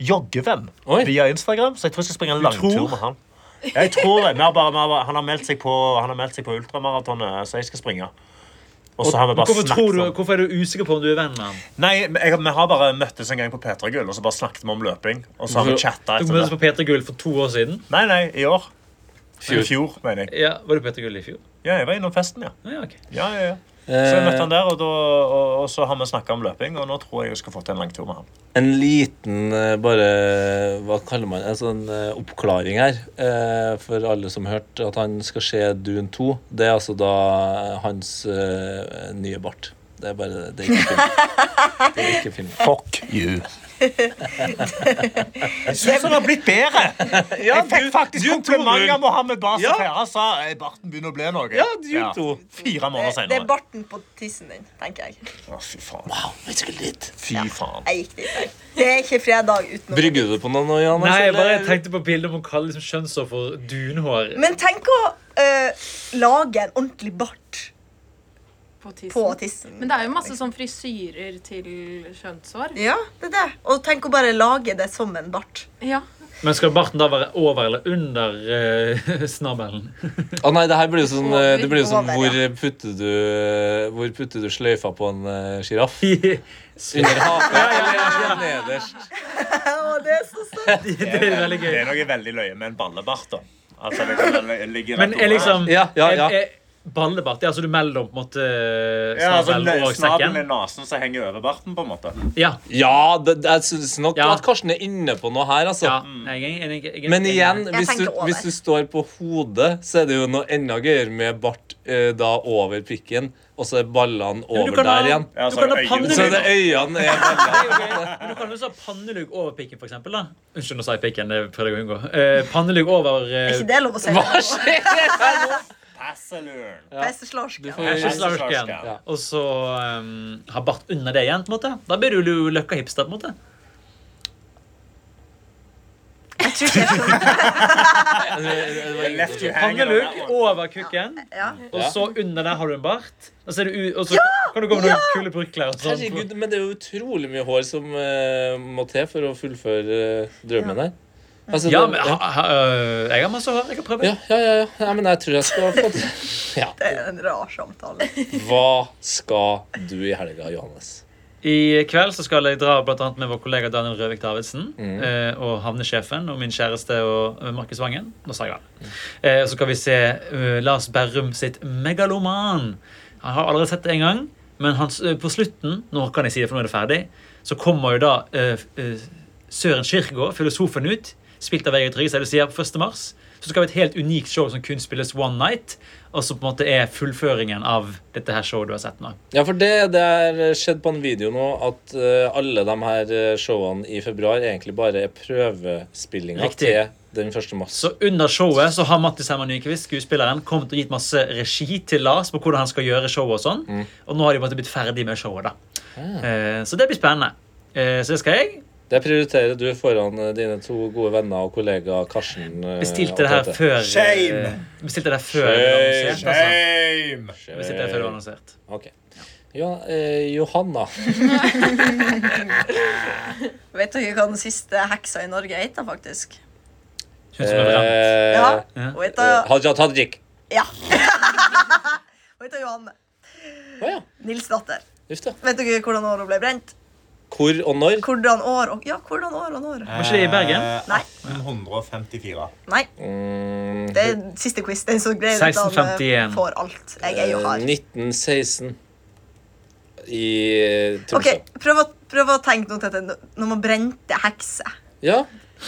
Speaker 6: Joggevenn
Speaker 2: Oi.
Speaker 6: via Instagram. Så jeg tror jeg skal springe en langtur med han. Jeg tror det. Vi har bare, vi har bare, han, har meldt seg på, han har meldt seg på ultramaratonet, så jeg skal springe. Og så har vi bare
Speaker 3: Hvorfor, tror
Speaker 6: snakket sånn.
Speaker 3: du,
Speaker 6: om-
Speaker 3: hvorfor er du usikker på om du er venn med han?
Speaker 6: Nei, men jeg, vi har bare møttes en gang på P3 Gull, og så bare snakket vi om løping. Og så har vi chatta
Speaker 3: Du
Speaker 6: etter
Speaker 3: møttes på
Speaker 6: det.
Speaker 3: Peter Gull for to år siden.
Speaker 6: Nei, nei, i år. I
Speaker 2: Fjor.
Speaker 6: fjor, mener jeg.
Speaker 3: Ja, Var du på Peter Gull i fjor?
Speaker 6: Ja, jeg var innom festen, ja.
Speaker 3: Ja, ok.
Speaker 6: ja, ja, ja.
Speaker 2: Eh,
Speaker 6: Så
Speaker 3: Eh.
Speaker 6: jeg møtte han der, og, da, og, og så har vi snakka om løping, og nå tror jeg jeg skal få til en lang tur med han.
Speaker 2: En liten eh, bare Hva kaller man det? En sånn eh, oppklaring her. eh, For alle som hørte at han skal se Dune 2. Det er altså da hans eh, nye bart. Det er bare Det er ikke film. Det er ikke film.
Speaker 6: Fuck you. Jeg syns han har blitt bedre. jeg fikk faktisk kompliment av Mohammed Basi.
Speaker 2: Ja.
Speaker 6: Ja. Han sa «Ei, barten begynner å bli noe.
Speaker 2: Ja, du to.
Speaker 6: Fire
Speaker 4: Det,
Speaker 6: måneder
Speaker 4: det er
Speaker 6: senere.
Speaker 4: barten på tissen din, tenker jeg.
Speaker 6: Å, fy faen.
Speaker 2: Vi skulle dit.
Speaker 6: Fy faen.
Speaker 4: Jeg gikk dit, jeg. Det er ikke fredag uten å-
Speaker 2: Brygger du på noe nå, Johannes?
Speaker 3: Nei, jeg bare
Speaker 2: eller?
Speaker 3: tenkte på bildet om å kalle liksom kjønnshår for dunhår.
Speaker 4: Men tenk å eh, lage en ordentlig bart
Speaker 5: På tissen.
Speaker 4: på tissen.
Speaker 5: Men det er jo masse sånn frisyrer til skjønnsår.
Speaker 4: Ja, det er det. Og tenk å bare lage det som en bart.
Speaker 5: Ja.
Speaker 3: Men skal barten da være over eller under eh, snabelen?
Speaker 2: Å nei, det her blir jo sånn eh, Det blir jo sånn
Speaker 4: Over,
Speaker 2: Hvor
Speaker 4: ja.
Speaker 2: putter du Hvor putter du sløyfa på en eh, sjiraff?
Speaker 3: det
Speaker 2: Under haka eller nederst?
Speaker 4: Å, det er så søtt.
Speaker 3: er veldig gøy.
Speaker 6: Det er noe veldig løye med en ballebart, da. Altså, liksom, den ligger
Speaker 3: Men
Speaker 6: rett
Speaker 3: er
Speaker 6: over.
Speaker 3: liksom
Speaker 2: Ja, ja, ja.
Speaker 3: Er, er ballebart det er altså du mellom på en måte
Speaker 6: ja, altså,
Speaker 3: snabelen og sekken?
Speaker 6: Snabelen er nesen som henger over barten, på en måte.
Speaker 3: Ja.
Speaker 2: Ja, det, jeg syns nok
Speaker 3: Ja.
Speaker 2: at Karsten er inne på noe her, altså.
Speaker 3: ja. Nei, jeg, jeg, jeg, jeg,
Speaker 2: Men igjen,
Speaker 4: Jeg
Speaker 2: hvis du,
Speaker 4: tenker over.
Speaker 2: hvis du står på hodet, så er det jo noe enda gøyere med bart eh, da over pikken, og så er ballene
Speaker 3: Men du
Speaker 2: over
Speaker 3: kan ha-
Speaker 2: der igjen.
Speaker 6: Ja,
Speaker 3: Du
Speaker 6: så
Speaker 3: kan ha
Speaker 6: øyet-
Speaker 3: pannelugg.
Speaker 2: Så det øynene er ballene.
Speaker 3: Men du kan også ha pannelugg over pikken, for eksempel. Da. Unnskyld, nå sa jeg pikken. Det prøvde jeg å unngå. Eh, pannelugg over eh,
Speaker 4: Er ikke det lov å si?
Speaker 2: Hva skjer her nå?
Speaker 6: Passeløren.
Speaker 4: Besteslarsken.
Speaker 2: Du får-
Speaker 3: ikke slarken.
Speaker 6: Ja.
Speaker 3: Og så um, ha bart under det igjen. på en måte Da blir du jo løkka hipster. på en måte
Speaker 4: Jeg tror ikke jeg skjønner.
Speaker 6: Left you hanging on that
Speaker 3: Pannelugg
Speaker 6: one.
Speaker 3: over kukken,
Speaker 4: Ja.
Speaker 3: og
Speaker 2: Ja.
Speaker 3: så under der har du en bart. Og så, er du, u- og så kan du gå med noen kule brukler. og sånn.
Speaker 2: Herregud, men det er jo utrolig mye hår som eh, må til for å fullføre eh, drømmen her. Altså,
Speaker 3: Ja,
Speaker 2: det-
Speaker 3: men ha, ha, øh, jeg har masse hår. Jeg kan prøve.
Speaker 2: ja, ja, ja, ja. Nei, men jeg tror jeg skal få det. Ja.
Speaker 4: Det er en rar samtale.
Speaker 2: Hva skal du i helga, Johannes?
Speaker 3: I kveld så skal jeg dra blant annet med vår kollega Daniel Røvik Davidsen eh, og havnesjefen og min kjæreste og eh, Markus Vangen. Nå sa jeg det. Eh, så skal vi se eh, Lars Berrum sitt Megaloman. Han har allerede sett det en gang, men han, s- eh, på slutten nå kan jeg si det, for nå er det ferdig, så kommer jo da eh, f- eh, Søren Kirkegaard, filosofen, ut. Spilt av Vegard Trygge, du sier på 1. mars. Så skal vi ha et helt unikt show som kun spilles one night, og som på en måte er fullføringen av dette her showet du har sett nå.
Speaker 2: Ja, for det, det er skjedd på en video nå at eh, alle de her eh, showene i februar egentlig bare er prøvespillinger
Speaker 3: Riktig.
Speaker 2: til den første mars.
Speaker 3: Så under showet så har Mattis Herman Nyquist, skuespilleren, kommet og gitt masse regi til Lars på hvordan han skal gjøre showet og sånn.
Speaker 2: Mm.
Speaker 3: Og nå har de på en måte blitt ferdig med showet, da.
Speaker 2: Ah.
Speaker 3: Eh, Så det blir spennende. Eh, Så det skal jeg.
Speaker 2: Det prioriterer du foran eh, dine to gode venner og kollega Karsten. eh,
Speaker 3: Bestilte det her
Speaker 2: og Tete.
Speaker 3: før eh,
Speaker 6: Shame.
Speaker 3: Bestilte det her før det var
Speaker 2: Shame,
Speaker 3: annonsert, altså.
Speaker 6: Shame!
Speaker 3: Bestilte det her før det var annonsert.
Speaker 2: Eh, Ok. Ja, eh, Johanna.
Speaker 4: Vet dere hva den siste heksa i Norge heter, faktisk?
Speaker 3: Synes hun er brent.
Speaker 2: Eh,
Speaker 4: Ja.
Speaker 3: Ja.
Speaker 4: Hun heter,
Speaker 2: eh, Haja Tajik.
Speaker 4: ja. hun heter Johanne.
Speaker 2: Å ja.
Speaker 4: Nils datter.
Speaker 2: Uff da.
Speaker 4: Vet dere hvordan år hun ble brent?
Speaker 2: Hvor og når?
Speaker 4: Hvordan år og Ja, hvordan år og når?
Speaker 3: Var ikke det i Bergen?
Speaker 6: Eh,
Speaker 4: Nei.
Speaker 7: 154.
Speaker 4: Nei,
Speaker 2: Mm,
Speaker 4: det er siste quiz. Den som greier at han eh,
Speaker 3: 1651.
Speaker 4: får alt. Jeg er jo
Speaker 2: eh,
Speaker 4: hard.
Speaker 2: 1916 i eh, Tromsø.
Speaker 4: OK, prøv å, prøv å tenke noe til at det- når man brente hekser.
Speaker 2: Ja.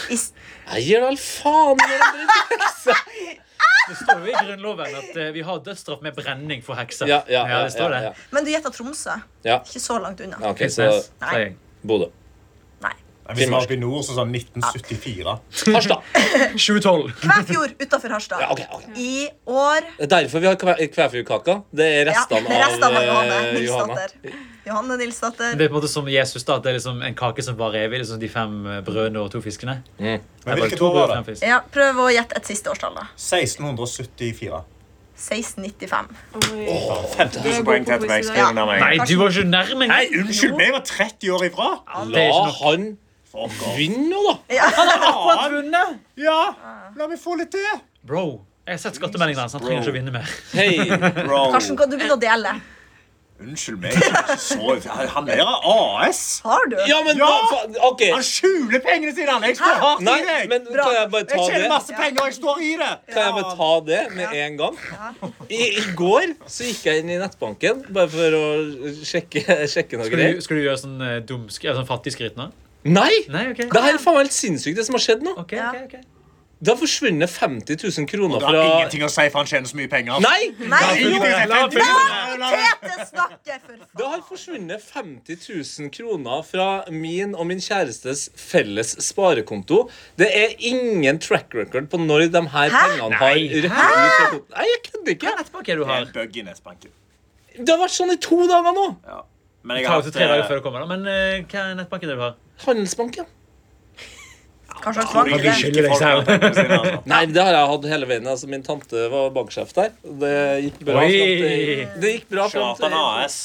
Speaker 4: I s-
Speaker 2: Jeg gir all faen i den dritten.
Speaker 3: Det står jo i Grunnloven at eh, vi har dødsstraff med brenning for hekser.
Speaker 2: Ja, ja,
Speaker 3: det står det.
Speaker 2: ja,
Speaker 4: Men du gjetta Tromsø.
Speaker 2: Ja.
Speaker 4: Ikke så langt unna.
Speaker 2: ja. OK, så
Speaker 3: Finnsnes,
Speaker 4: Nei.
Speaker 3: sier jeg.
Speaker 2: Bodø.
Speaker 6: Hvis vi var oppe i nord, så sånn 1974.
Speaker 2: Harstad.
Speaker 3: 2012.
Speaker 4: Kvæfjord utafor Harstad.
Speaker 2: Ja, ok, ok.
Speaker 4: I år
Speaker 2: Det er derfor vi har kve- Kvæfjordkaka. Det er
Speaker 4: ja,
Speaker 2: restene
Speaker 4: det er restene av
Speaker 2: eh,
Speaker 4: Johanne
Speaker 2: Johanna.
Speaker 4: Nilsdatter. Johanne Nilsdatter.
Speaker 3: Det er på en måte som Jesus, da. at Det er liksom en kake som varer evig. liksom De fem eh, brødene og to fiskene. Nei,
Speaker 6: Men
Speaker 3: bare
Speaker 6: hvilket
Speaker 3: to
Speaker 6: år var
Speaker 3: brød,
Speaker 6: det?
Speaker 3: fem fisk.
Speaker 4: Ja, prøv å gjette et siste årstall, da.
Speaker 6: 1674.
Speaker 4: 1695.
Speaker 5: Oi.
Speaker 7: 5000 poeng til etter meg. Skriv
Speaker 4: Ja.
Speaker 7: under
Speaker 6: Eh,
Speaker 7: meg.
Speaker 3: Nei, du var ikke nærme
Speaker 6: Nei,
Speaker 3: engang!
Speaker 6: unnskyld meg! Jeg var 30 år ifra!
Speaker 3: Det er
Speaker 2: La
Speaker 3: ikke nok.
Speaker 2: han vinne nå, da.
Speaker 3: Akkurat vunnet!
Speaker 6: Ja, la meg få litt til.
Speaker 3: Bro. Jeg har sett skattemeldingen hans. Han trenger ikke å vinne mer.
Speaker 2: Hei.
Speaker 6: Bro.
Speaker 4: Karsten, kan du begynne å dele?
Speaker 6: Unnskyld meg. Så, han der er AS.
Speaker 4: Har du?
Speaker 2: Ja, men
Speaker 6: Ja!
Speaker 2: hva faen? OK.
Speaker 6: Han skjuler pengene sine! han. Jeg står hardt i
Speaker 2: Nei,
Speaker 6: deg.
Speaker 2: men kan jeg bare ta
Speaker 6: Jeg tjener
Speaker 2: det?
Speaker 6: masse penger, og jeg står i det.
Speaker 2: Kan jeg bare ta det med en gang? I, I går så gikk jeg inn i nettbanken bare for å sjekke, sjekke noe
Speaker 3: Skal du,
Speaker 2: greier.
Speaker 3: skal du gjøre sånn eh, dum sk- eh, sånn fattig skryt nå?
Speaker 2: Nei!
Speaker 3: Nei, OK.
Speaker 2: Det her er faen meg helt sinnssykt, det som har skjedd nå.
Speaker 3: Ok,
Speaker 4: Ja.
Speaker 3: ok, ok.
Speaker 2: Det har forsvunnet 50 000 kroner
Speaker 6: Det har
Speaker 2: fra
Speaker 6: ingenting å si, for han tjener så mye penger.
Speaker 2: Nei!
Speaker 4: Nei!
Speaker 6: Ingenting å si.
Speaker 3: La han finne
Speaker 6: Nei, nei, nei.
Speaker 4: Tete snakker, for
Speaker 2: Det har
Speaker 4: faen.
Speaker 2: forsvunnet 50 000 kroner fra min og min kjærestes felles sparekonto. Det er ingen track record på når de her
Speaker 4: Hæ?
Speaker 2: pengene har
Speaker 3: Nei.
Speaker 2: røkt ut fra kontoen. Nei, jeg kødder
Speaker 3: Hva
Speaker 2: ikke.
Speaker 3: er nettbank er det du
Speaker 6: Det er
Speaker 3: har?
Speaker 6: en bug i nettbanken.
Speaker 2: Det har vært sånn i to dager nå.
Speaker 6: Ja. Men
Speaker 3: Ta ut til tre
Speaker 6: eh,
Speaker 3: dager før du kommer, da. Men eh, hva er nettbanken det du har?
Speaker 2: Handelsbanken.
Speaker 4: Hva slags
Speaker 6: tror
Speaker 4: bank
Speaker 6: jeg
Speaker 4: er det?
Speaker 6: rike folk har pengene sine, altså.
Speaker 2: Nei, det har jeg hatt hele veien. Altså, min tante var banksjef der. Det gikk bra.
Speaker 3: Oi.
Speaker 2: Fram til, det gikk bra
Speaker 6: Ikke
Speaker 2: fram
Speaker 6: rart
Speaker 2: til
Speaker 6: han er AS.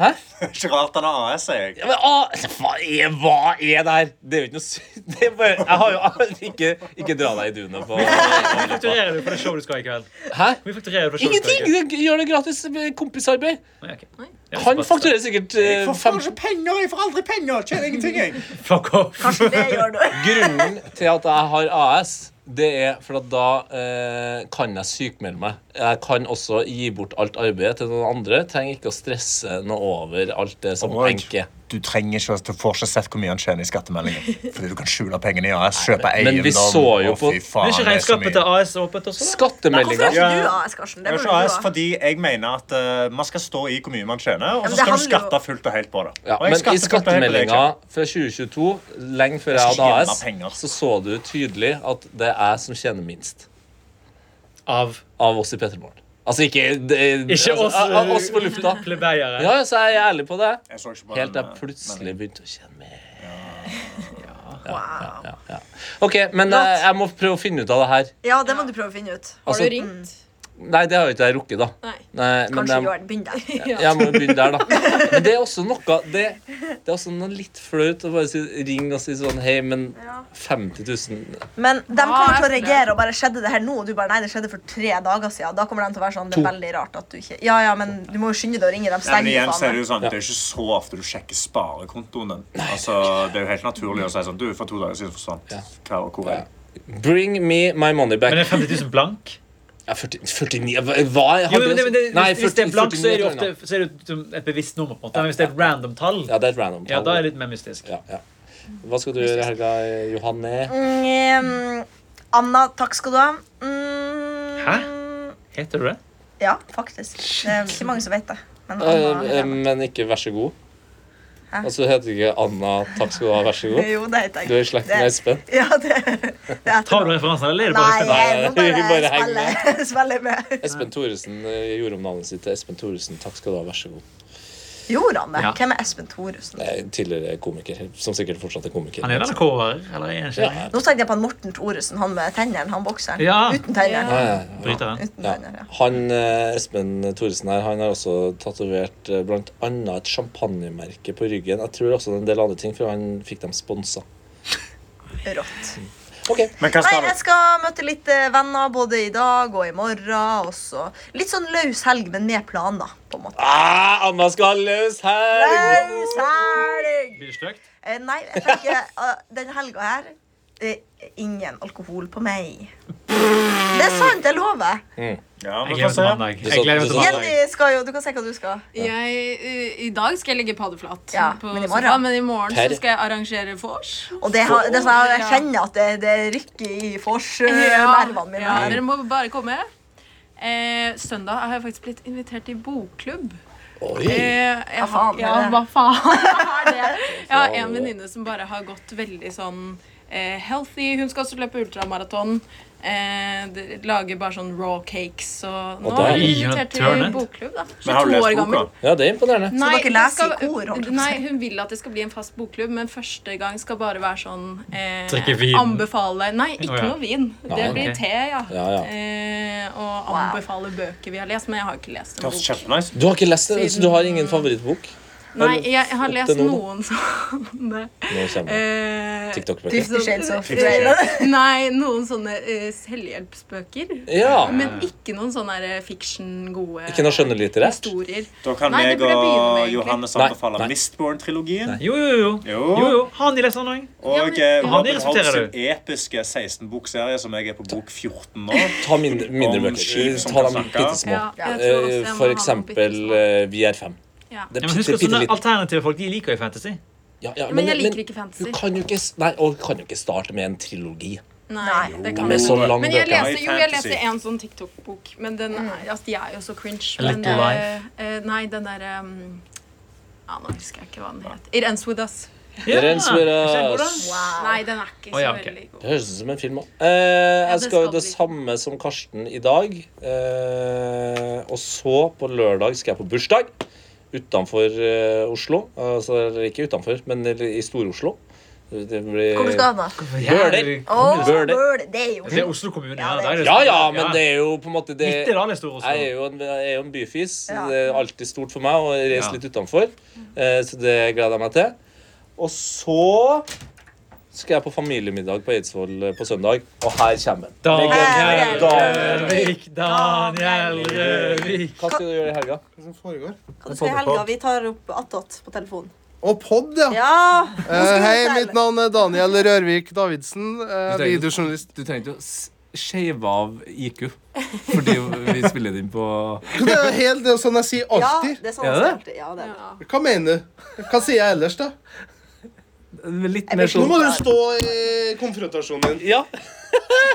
Speaker 2: Hæ?
Speaker 6: Ikke rart han er AS, sier jeg.
Speaker 2: Ja, men, ah, hva, er, hva er det her? Det er jo ikke noe sy- det er bare, Jeg har jo aldri- ikke, ikke dra deg i dunet på
Speaker 3: Hvor mye fakturerer du for det showet du skal ha i kveld?
Speaker 2: Hæ?
Speaker 3: Hvor mye fakturerer du for showet du
Speaker 2: Ingenting!
Speaker 3: skal ha i kveld?
Speaker 2: Det gjør det gratis med kompisarbeid.
Speaker 3: Nei, ok. Det er
Speaker 2: Han
Speaker 3: såpass.
Speaker 2: fakturerer sikkert eh,
Speaker 6: Jeg
Speaker 2: fem
Speaker 6: får ikke penger! Jeg får aldri penger! Tjener ingenting, jeg.
Speaker 3: Fuck off.
Speaker 4: Karsten, det gjør du.
Speaker 2: Grunnen til at jeg har AS, det er for at da eh, kan jeg sykmelde meg. Jeg kan også gi bort alt arbeidet til noen andre. Trenger ikke å stresse noe over alt det som
Speaker 6: Og-
Speaker 2: enke.
Speaker 6: Du trenger ikke, du får ikke sett hvor mye han tjener i skattemeldingen. Fordi du kan skjule pengene i AS, kjøpe
Speaker 2: men- men vi så jo
Speaker 6: Å,
Speaker 2: på-
Speaker 6: fy
Speaker 3: Men er ikke
Speaker 6: faen, det er så mye.
Speaker 3: regnskapet til AS åpent også? da?
Speaker 4: Hvorfor er
Speaker 2: Skattemeldinga.
Speaker 4: ikke
Speaker 6: Ja.
Speaker 4: du AS, Karsten? Det
Speaker 6: Jeg er
Speaker 4: burde
Speaker 6: ikke AS
Speaker 4: du ha.
Speaker 6: fordi jeg mener at eh, man skal stå i hvor mye man tjener, og
Speaker 4: men
Speaker 6: så
Speaker 4: det
Speaker 6: skal du
Speaker 4: handler jo-
Speaker 6: skatte fullt og helt på det.
Speaker 2: Ja,
Speaker 6: Og jeg
Speaker 2: men i
Speaker 6: skatter fullt og helt på det,
Speaker 2: skattemeldinga
Speaker 6: ikke?
Speaker 2: fra 2022, lenge før jeg
Speaker 6: Jeg
Speaker 2: hadde
Speaker 6: skal ikke
Speaker 2: AS,
Speaker 6: tjene penger.
Speaker 2: så så du tydelig at det er jeg som tjener minst
Speaker 3: Av
Speaker 2: av oss i Petermorgen. Altså ikke det,
Speaker 3: Ikke
Speaker 2: altså,
Speaker 3: oss, eh,
Speaker 2: av- av oss på lufta.
Speaker 6: eh,
Speaker 3: plebeiere.
Speaker 2: Ja, ja, så er jeg ærlig på det.
Speaker 6: Jeg så ikke på
Speaker 2: Helt til
Speaker 6: den,
Speaker 2: jeg
Speaker 6: eh,
Speaker 2: plutselig begynte å tjene mer.
Speaker 4: Wow.
Speaker 2: Ja, ja. OK, men eh, jeg må prøve å finne ut av det her.
Speaker 4: Ja, det må du prøve å finne ut.
Speaker 5: Har
Speaker 2: Altså,
Speaker 5: du ringt?
Speaker 2: Nei, det har jo ikke jeg rukket, da.
Speaker 5: Mm. Nei.
Speaker 2: Nei, men um,
Speaker 4: Kanskje
Speaker 2: jeg-
Speaker 4: gjør den. Begynn der.
Speaker 2: jeg må jo begynne der, da. Men det er også noe Det, det er også noe litt flaut å bare si, ringe og si sånn Hei, men 50 000
Speaker 4: Men de
Speaker 5: Ja,
Speaker 4: kommer til å
Speaker 5: jeg-
Speaker 4: reagere og bare skjedde det her nå, og du bare nei, det skjedde for tre dager siden. Da kommer de til å være sånn, det er
Speaker 2: To.
Speaker 4: veldig rart at du ikke Ja, ja, men du må jo skynde deg å ringe dem.
Speaker 6: Nei, men
Speaker 4: Stenger
Speaker 6: igjen så er Det
Speaker 4: faen
Speaker 6: jo
Speaker 4: meg.
Speaker 6: sånn, det er ikke så ofte du sjekker sparekontoen din. Altså, det er jo helt naturlig å si sånn Du, for to dager siden forsvant. Hva, hvor er det?
Speaker 2: Bring me my money back.
Speaker 3: Men er 50 000 blank?
Speaker 2: Ja, 40, 49 hva- Hva har
Speaker 3: Jo, men, det, men det,
Speaker 2: Nei,
Speaker 3: hvis det er
Speaker 2: 40
Speaker 3: blank, så er det jo
Speaker 2: 49 tror jeg
Speaker 3: ofte så er det jo som et bevisst nummer. på en måte. Men hvis det er et random tall,
Speaker 2: nå. Ja, det er et random
Speaker 3: ja,
Speaker 2: tall.
Speaker 3: da er det litt mer mystisk.
Speaker 2: ja, ja. Hva skal du gjøre i helga, Johanne?
Speaker 4: Mm, Anna, takk skal du ha. Mm,
Speaker 3: Hæ? Heter du det?
Speaker 4: Ja, faktisk. Det er ikke mange som vet det. Men Anna
Speaker 2: Eh, eh, men ikke vær så god.
Speaker 4: Hæ?
Speaker 2: Altså, du heter ikke Anna Takk skal du ha, vær så god.
Speaker 4: Jo, det heter jeg.
Speaker 2: Du er i slekt med
Speaker 4: Det-
Speaker 2: Espen.
Speaker 4: Ja, det, det er
Speaker 3: Tar du referansen, eller er det bare
Speaker 4: Nei,
Speaker 3: Espen?
Speaker 4: jeg må
Speaker 2: Nei, vi bare
Speaker 4: bare
Speaker 2: henger
Speaker 4: spille, spille med.
Speaker 2: Espen Thoresen eh, gjorde om navnet sitt til Espen Thoresen. Takk skal du ha, vær så god.
Speaker 4: Gjorde han det?
Speaker 3: Ja.
Speaker 4: Hvem er Espen Thoresen?
Speaker 2: Nei, Tidligere komiker, som sikkert fortsatt er komiker.
Speaker 3: Han er NRK-er, eller er han ikke?
Speaker 2: Ja.
Speaker 4: Nå tenkte jeg på han Morten Thoresen, han med tennene, han bokseren.
Speaker 3: Ja.
Speaker 4: Uten tenner.
Speaker 2: Ja, ja, ja.
Speaker 3: Bryteren.
Speaker 4: Uten
Speaker 2: Ja.
Speaker 4: tenner, ja.
Speaker 2: Han, eh, Espen Thoresen her, han har også tatovert eh, blant annet et champagnemerke på ryggen. Jeg tror også en del andre ting, for han fikk dem sponsa.
Speaker 4: Rått.
Speaker 2: Ok.
Speaker 8: Men hva
Speaker 4: Nei,
Speaker 8: skal
Speaker 4: jeg skal møte litt eh, venner både i dag og i morgen. Og så litt sånn løs helg, men med planer, på en måte.
Speaker 2: Ah, Anna skal ha løs her!
Speaker 4: Løs helg!
Speaker 3: Blir det stygt?
Speaker 4: Eh, Nei, jeg tenker eh, den helga her eh, Ingen alkohol på meg. Det er sant, jeg lover.
Speaker 8: Ja,
Speaker 3: Jeg
Speaker 8: vi
Speaker 3: gleder
Speaker 8: får
Speaker 3: meg
Speaker 8: se.
Speaker 2: Du sa-
Speaker 3: til mandag. Jeg gleder meg
Speaker 2: du
Speaker 3: til
Speaker 2: sa-
Speaker 3: mandag.
Speaker 4: Jenny skal jo Du kan si hva du skal.
Speaker 5: Jeg, eh, I dag skal jeg ligge paddeflat.
Speaker 4: Ja,
Speaker 5: på
Speaker 4: men i morgen?
Speaker 5: sofaen, men i morgen
Speaker 2: Per.
Speaker 5: så skal jeg arrangere vors.
Speaker 4: Og det, har- det er sånn, jeg kjenner at det, det rykker i forsnervene mine.
Speaker 5: ja,
Speaker 4: her.
Speaker 5: dere må bare komme. Eh, søndag har jeg faktisk blitt invitert til bokklubb.
Speaker 2: Oi.
Speaker 5: Eh, jeg
Speaker 4: Hva faen
Speaker 5: har-
Speaker 4: er
Speaker 5: ja,
Speaker 4: det?
Speaker 5: hva faen er det? Jeg har en venninne som bare har gått veldig sånn eh, healthy. Hun skal også løpe ultramaraton. Eh, de lager bare sånn raw cakes. Og nå
Speaker 2: da er
Speaker 5: er hun
Speaker 3: hun
Speaker 5: invitert til
Speaker 3: turned.
Speaker 5: bokklubb, da.
Speaker 8: Men har du
Speaker 5: 22 år
Speaker 8: lest
Speaker 5: gammel.
Speaker 8: boka?
Speaker 2: Ja, det er imponerende.
Speaker 5: Nei,
Speaker 4: dere lese
Speaker 5: det
Speaker 4: i kor, holdt jeg på å
Speaker 5: nei,
Speaker 4: si?
Speaker 5: hun vil at det skal bli en fast bokklubb, men første gang skal bare være sånn eh,
Speaker 3: Drikke vin.
Speaker 5: Anbefale Nei, ikke
Speaker 3: Å, ja.
Speaker 5: noe vin. Det
Speaker 2: Nei,
Speaker 5: blir
Speaker 3: ok.
Speaker 5: te, ja.
Speaker 2: Ja, ja.
Speaker 5: Eh, og
Speaker 4: Wow.
Speaker 5: anbefale bøker vi har lest, men jeg har ikke lest
Speaker 8: Det
Speaker 5: en
Speaker 8: høres
Speaker 5: bok.
Speaker 8: kjempenice
Speaker 2: Du har ikke lest det, så du har ingen favorittbok?
Speaker 5: Nei, jeg har
Speaker 2: opp
Speaker 5: lest
Speaker 2: til nå, da.
Speaker 5: noen sånne
Speaker 2: Nå kommer det.
Speaker 5: eh,
Speaker 2: TikTok-bøker.
Speaker 4: Fifty Shades of
Speaker 8: Fifty Shades.
Speaker 5: Nei, noen sånne eh, selvhjelpsbøker.
Speaker 2: Ja.
Speaker 5: Men ikke noen sånne eh, fiction, gode
Speaker 2: Ikke noe skjønnlitterært?
Speaker 5: historier.
Speaker 8: Da kan
Speaker 5: Nei, det
Speaker 8: jeg
Speaker 5: burde jeg begynne med,
Speaker 8: og
Speaker 5: egentlig.
Speaker 8: Johannes
Speaker 2: Nei,
Speaker 8: anbefale
Speaker 2: nei.
Speaker 8: Mistborn-trilogien.
Speaker 3: Jo, jo, jo.
Speaker 8: Jo.
Speaker 3: jo, jo. Har han de lest han òg?
Speaker 5: Ja,
Speaker 8: Og
Speaker 5: men-
Speaker 8: eh,
Speaker 5: Ja.
Speaker 8: Robin
Speaker 3: Det
Speaker 8: Holts
Speaker 3: respekterer du.
Speaker 8: episke 16-bokserie, som jeg er på bok 14 nå.
Speaker 2: Ta mindre, mindre
Speaker 8: Om
Speaker 2: bøker.
Speaker 8: skip som
Speaker 2: Ta
Speaker 8: kan
Speaker 2: dem
Speaker 8: snakke.
Speaker 2: bitte små.
Speaker 5: Ja, jeg tror også jeg må
Speaker 2: Eh, For
Speaker 5: ha noen
Speaker 2: eksempel
Speaker 5: bittesmå.
Speaker 2: eh, Vi er fem.
Speaker 5: Ja.
Speaker 2: Det
Speaker 3: Ja,
Speaker 2: er
Speaker 3: men
Speaker 2: bitte,
Speaker 3: husk at
Speaker 2: bitte
Speaker 3: sånne
Speaker 2: litt.
Speaker 3: alternative folk de liker jo fantasy.
Speaker 2: Ja, ja,
Speaker 5: Men jeg liker ikke fantasy.
Speaker 2: Du kan jo ikke, s- nei, og du kan jo ikke starte med en trilogi.
Speaker 5: Nei,
Speaker 4: Nei.
Speaker 5: det
Speaker 2: De
Speaker 5: kan
Speaker 2: er
Speaker 5: jeg
Speaker 2: så lang
Speaker 5: Men jeg
Speaker 2: bøker.
Speaker 5: leste,
Speaker 8: High
Speaker 5: jo, jeg
Speaker 8: fantasy.
Speaker 5: leste en sånn TikTok-bok, men den er, altså, de er jo så cringe.
Speaker 3: A
Speaker 5: Men,
Speaker 3: Little
Speaker 5: eh, eh, nei, den derre um, ja, Nå husker jeg ikke hva den het. It Ends With Us.
Speaker 3: Ja,
Speaker 2: Rens med
Speaker 3: er ikke den god, da?
Speaker 2: oss.
Speaker 4: Wow.
Speaker 5: Nei, den er ikke så
Speaker 3: Å, ja, ok.
Speaker 5: veldig god.
Speaker 2: Det høres ut som en film òg. Eh, jeg
Speaker 5: det
Speaker 2: skal jo
Speaker 5: skal
Speaker 2: det
Speaker 5: vi.
Speaker 2: samme som Karsten i dag. Eh, og så, på lørdag, skal jeg på bursdag utenfor eh, Oslo. Altså eller ikke utenfor, men i Stor-Oslo. Det blir
Speaker 4: Hvor skal du da?
Speaker 2: Bøler.
Speaker 4: Å,
Speaker 2: Bøler.
Speaker 4: Bøler. Det er
Speaker 3: Det er
Speaker 4: jo
Speaker 3: Oslo kommune.
Speaker 4: Ja,
Speaker 3: Ja,
Speaker 4: det er-
Speaker 3: der er
Speaker 2: Ja ja, men det er jo på en måte det
Speaker 3: Nittedal er stor også.
Speaker 2: Jeg er jo en, jeg er jo en byfis.
Speaker 4: Ja.
Speaker 2: Det er alltid stort for meg å reise
Speaker 3: Ja.
Speaker 2: litt utenfor. Eh, så det gleder jeg meg til. Og så skal jeg på familiemiddag på Eidsvoll eh, på søndag, og her kommer den.
Speaker 3: Daniel
Speaker 4: Daniel
Speaker 3: Røvik, Daniel Røvik.
Speaker 2: Hva skal du gjøre i helga?
Speaker 9: Hva som foregår?
Speaker 4: Hva du skal i helga? Vi tar opp attåt på telefonen.
Speaker 9: Og pod, ja.
Speaker 4: Ja.
Speaker 9: Eh, hei, mitt navn er Daniel Rørvik Davidsen. eh,
Speaker 10: trenger-
Speaker 9: videojournalist.
Speaker 10: Du trenger ikke å s- shave av IQ, fordi vi spiller det inn på
Speaker 9: Det er jo helt det er jo sånn jeg sier
Speaker 4: Ja,
Speaker 9: alltid.
Speaker 4: det er sånn
Speaker 10: Er
Speaker 4: jeg skal
Speaker 10: det
Speaker 4: alltid. Ja, det er det.
Speaker 5: Ja.
Speaker 9: Hva mener du? Hva sier jeg ellers, da?
Speaker 10: Litt
Speaker 4: Jeg
Speaker 10: mer
Speaker 4: blir
Speaker 9: Nå
Speaker 10: sånn
Speaker 9: må du stå i konfrontasjonen din.
Speaker 2: Ja,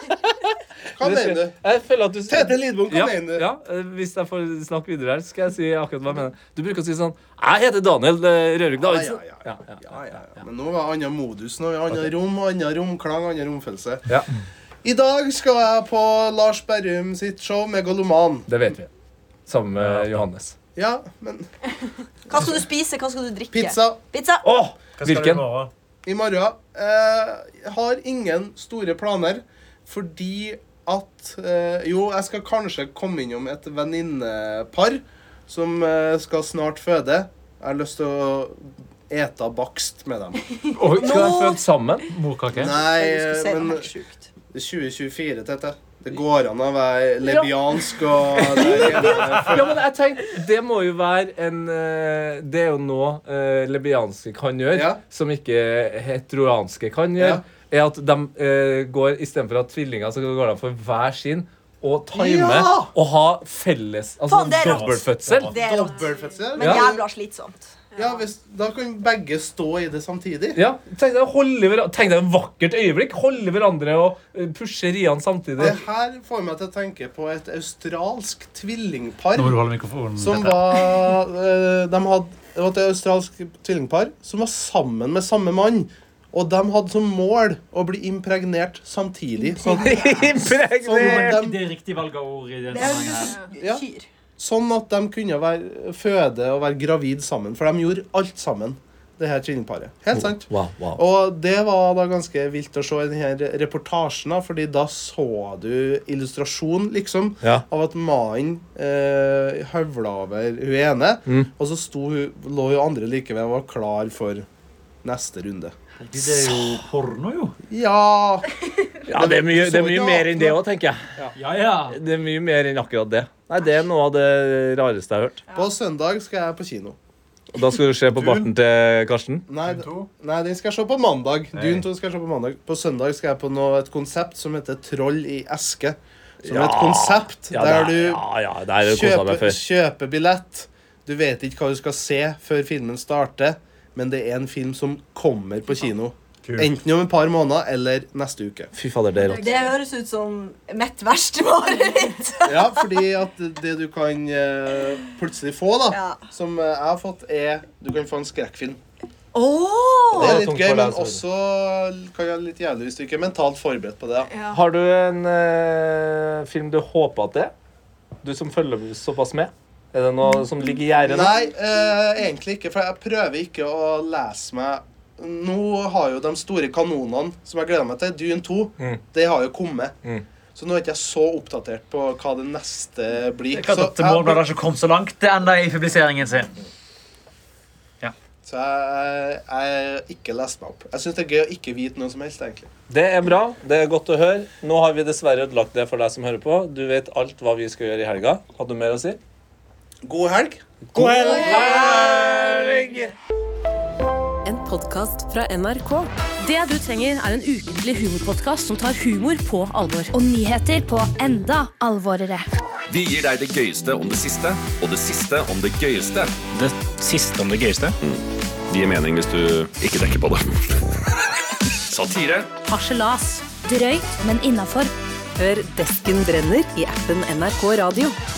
Speaker 9: Hva mener du?
Speaker 2: jeg føler at du
Speaker 9: Tete Lidbom, hva
Speaker 10: ja,
Speaker 9: mener du?
Speaker 10: ja, eh, Hvis jeg får snakke videre her, skal jeg si akkurat hva jeg mener. Du bruker å si sånn Jeg heter Daniel eh, Rørvik Davidsen.
Speaker 9: ja,
Speaker 10: Ja, ja.
Speaker 9: Ja, ja, ja. Men nå var det annen modus. nå var det Annen rom, annen romklang, annen romfølelse.
Speaker 10: Ja.
Speaker 9: I dag skal jeg på Lars Berrum sitt show med Goloman.
Speaker 10: Det vet vi. Sammen med Johannes.
Speaker 9: Ja, men
Speaker 4: Hva skal du spise? Hva skal du drikke?
Speaker 9: Pizza
Speaker 4: Pizza.
Speaker 10: Åh, hvilken?
Speaker 9: i morgen. Eh, har ingen store planer fordi at eh, Jo, jeg skal kanskje komme innom et venninnepar som eh, skal snart føde. Jeg har lyst til å ete bakst med dem.
Speaker 10: Oi, skal dere føde sammen?
Speaker 3: Morkake.
Speaker 9: Nei,
Speaker 4: Jeg skulle si det var
Speaker 9: men
Speaker 4: helt sjukt.
Speaker 9: det er 2024, Tete. Det går an å være lebiansk og det er ene-
Speaker 10: Ja, men jeg tenkte, Det må jo være en eh, Det er jo noe eh, lebianske kan gjøre,
Speaker 9: Ja.
Speaker 10: som ikke heteroanske kan gjøre.
Speaker 9: Ja.
Speaker 10: Er at de eh, går Istedenfor at tvillinger, så går de for hver sin. Og time
Speaker 9: Ja!
Speaker 10: og ha felles Altså
Speaker 4: Faen, det er rått.
Speaker 10: dobbeltfødsel.
Speaker 4: Det er rått.
Speaker 9: Dobbeltfødsel.
Speaker 4: Men
Speaker 10: Ja.
Speaker 4: jævla slitsomt.
Speaker 9: Ja, hvis, da kan begge stå i det samtidig.
Speaker 10: Ja, tenk deg, å holde hver- tenk deg et vakkert øyeblikk. Holde hverandre og eh, pushe riene samtidig.
Speaker 9: Det her får meg til å tenke på et australsk tvillingpar
Speaker 3: Nå må du holde mikrofonen.
Speaker 9: som
Speaker 3: Petter.
Speaker 9: var eh, De hadde det var et australsk tvillingpar som var sammen med samme mann. Og de hadde som mål å bli impregnert samtidig. Sånn,
Speaker 10: Impregnert.
Speaker 9: sånn at de,
Speaker 3: Det er riktig valg av ord i den
Speaker 4: Det høres
Speaker 3: sammenhengen.
Speaker 4: ut
Speaker 9: Ja.
Speaker 4: som kyr.
Speaker 9: Sånn at de kunne være, føde og være gravid sammen. For de gjorde alt sammen, det her tvillingparet. Helt sant.
Speaker 2: Wow, wow.
Speaker 9: Og det var da ganske vilt å se i denne reportasjen, da, fordi da så du illustrasjon, liksom,
Speaker 2: Ja.
Speaker 9: av at mannen eh, høvla over hun ene,
Speaker 10: Mm.
Speaker 9: og så sto hun, lå hun andre like ved og var klar for neste runde.
Speaker 6: Det er jo porno, jo.
Speaker 9: Ja
Speaker 10: Ja, det er mye, det er mye mer enn det òg, tenker jeg.
Speaker 6: Ja, ja.
Speaker 10: Det er mye mer enn akkurat det. Nei, Det er noe av det rareste jeg har hørt.
Speaker 9: På søndag skal jeg på kino.
Speaker 10: Og da skal du se på barten til Karsten.
Speaker 9: Nei,
Speaker 8: Dune 2?
Speaker 9: nei den skal jeg se på mandag.
Speaker 8: Nei.
Speaker 9: Dune 2 skal jeg se på mandag. På søndag skal jeg på noe, et konsept som heter Troll i eske. Som er et
Speaker 10: Ja.
Speaker 9: konsept
Speaker 10: Ja,
Speaker 9: der du
Speaker 10: ja, ja, der kosa jeg meg
Speaker 9: kjøper,
Speaker 10: før.
Speaker 9: kjøper billett. Du vet ikke hva du skal se før filmen starter, men det er en film som kommer på kino. Enten om et par måneder eller neste uke.
Speaker 10: Fy fader, det er rått.
Speaker 5: Det
Speaker 4: høres ut som mitt verste mareritt.
Speaker 9: Ja, fordi at det du kan eh, plutselig få, da,
Speaker 4: Ja.
Speaker 9: som eh, jeg har fått, er Du kan få en skrekkfilm.
Speaker 4: Oh!
Speaker 9: Det er
Speaker 2: tungt
Speaker 9: litt
Speaker 2: for
Speaker 9: gøy,
Speaker 2: deg,
Speaker 9: men
Speaker 2: altså.
Speaker 9: også kan være litt jævlig hvis du ikke er mentalt forberedt på det. da.
Speaker 5: Ja.
Speaker 10: Har du en eh, film du håper at det er? Du som følger såpass med? Er det noe som ligger i gjerdet? nå?
Speaker 9: Nei, eh, egentlig ikke, for jeg prøver ikke å lese meg Nå har jo de store kanonene som jeg gleder meg til, Dune 2,
Speaker 3: Mm.
Speaker 9: det har jo kommet. Så nå er ikke jeg så oppdatert på hva det neste blir.
Speaker 3: Det er klart
Speaker 9: Så
Speaker 3: at Morgenbladet har ikke kommet så langt det enda i publiseringen sin.
Speaker 9: så jeg, jeg ikke lest meg opp. Jeg syns det er gøy å ikke vite noe som helst, egentlig.
Speaker 2: Det er bra. Det er godt å høre. Nå har vi dessverre ødelagt det for deg som hører på. Du vet alt hva vi skal gjøre i helga. Hadde du mer å si?
Speaker 9: God helg.
Speaker 11: En podkast fra NRK. Det du trenger, er en ukentlig humorpodkast som tar humor på alvor.
Speaker 12: og nyheter på enda alvorere.
Speaker 1: Vi gir deg det gøyeste om det siste, og det siste om det gøyeste.
Speaker 13: Det siste om det gøyeste.
Speaker 1: Det gir mening hvis du ikke tenker på det. Satire.
Speaker 11: Harselas.
Speaker 12: Drøyt, men innafor.
Speaker 11: Hør Desken brenner i appen NRK Radio.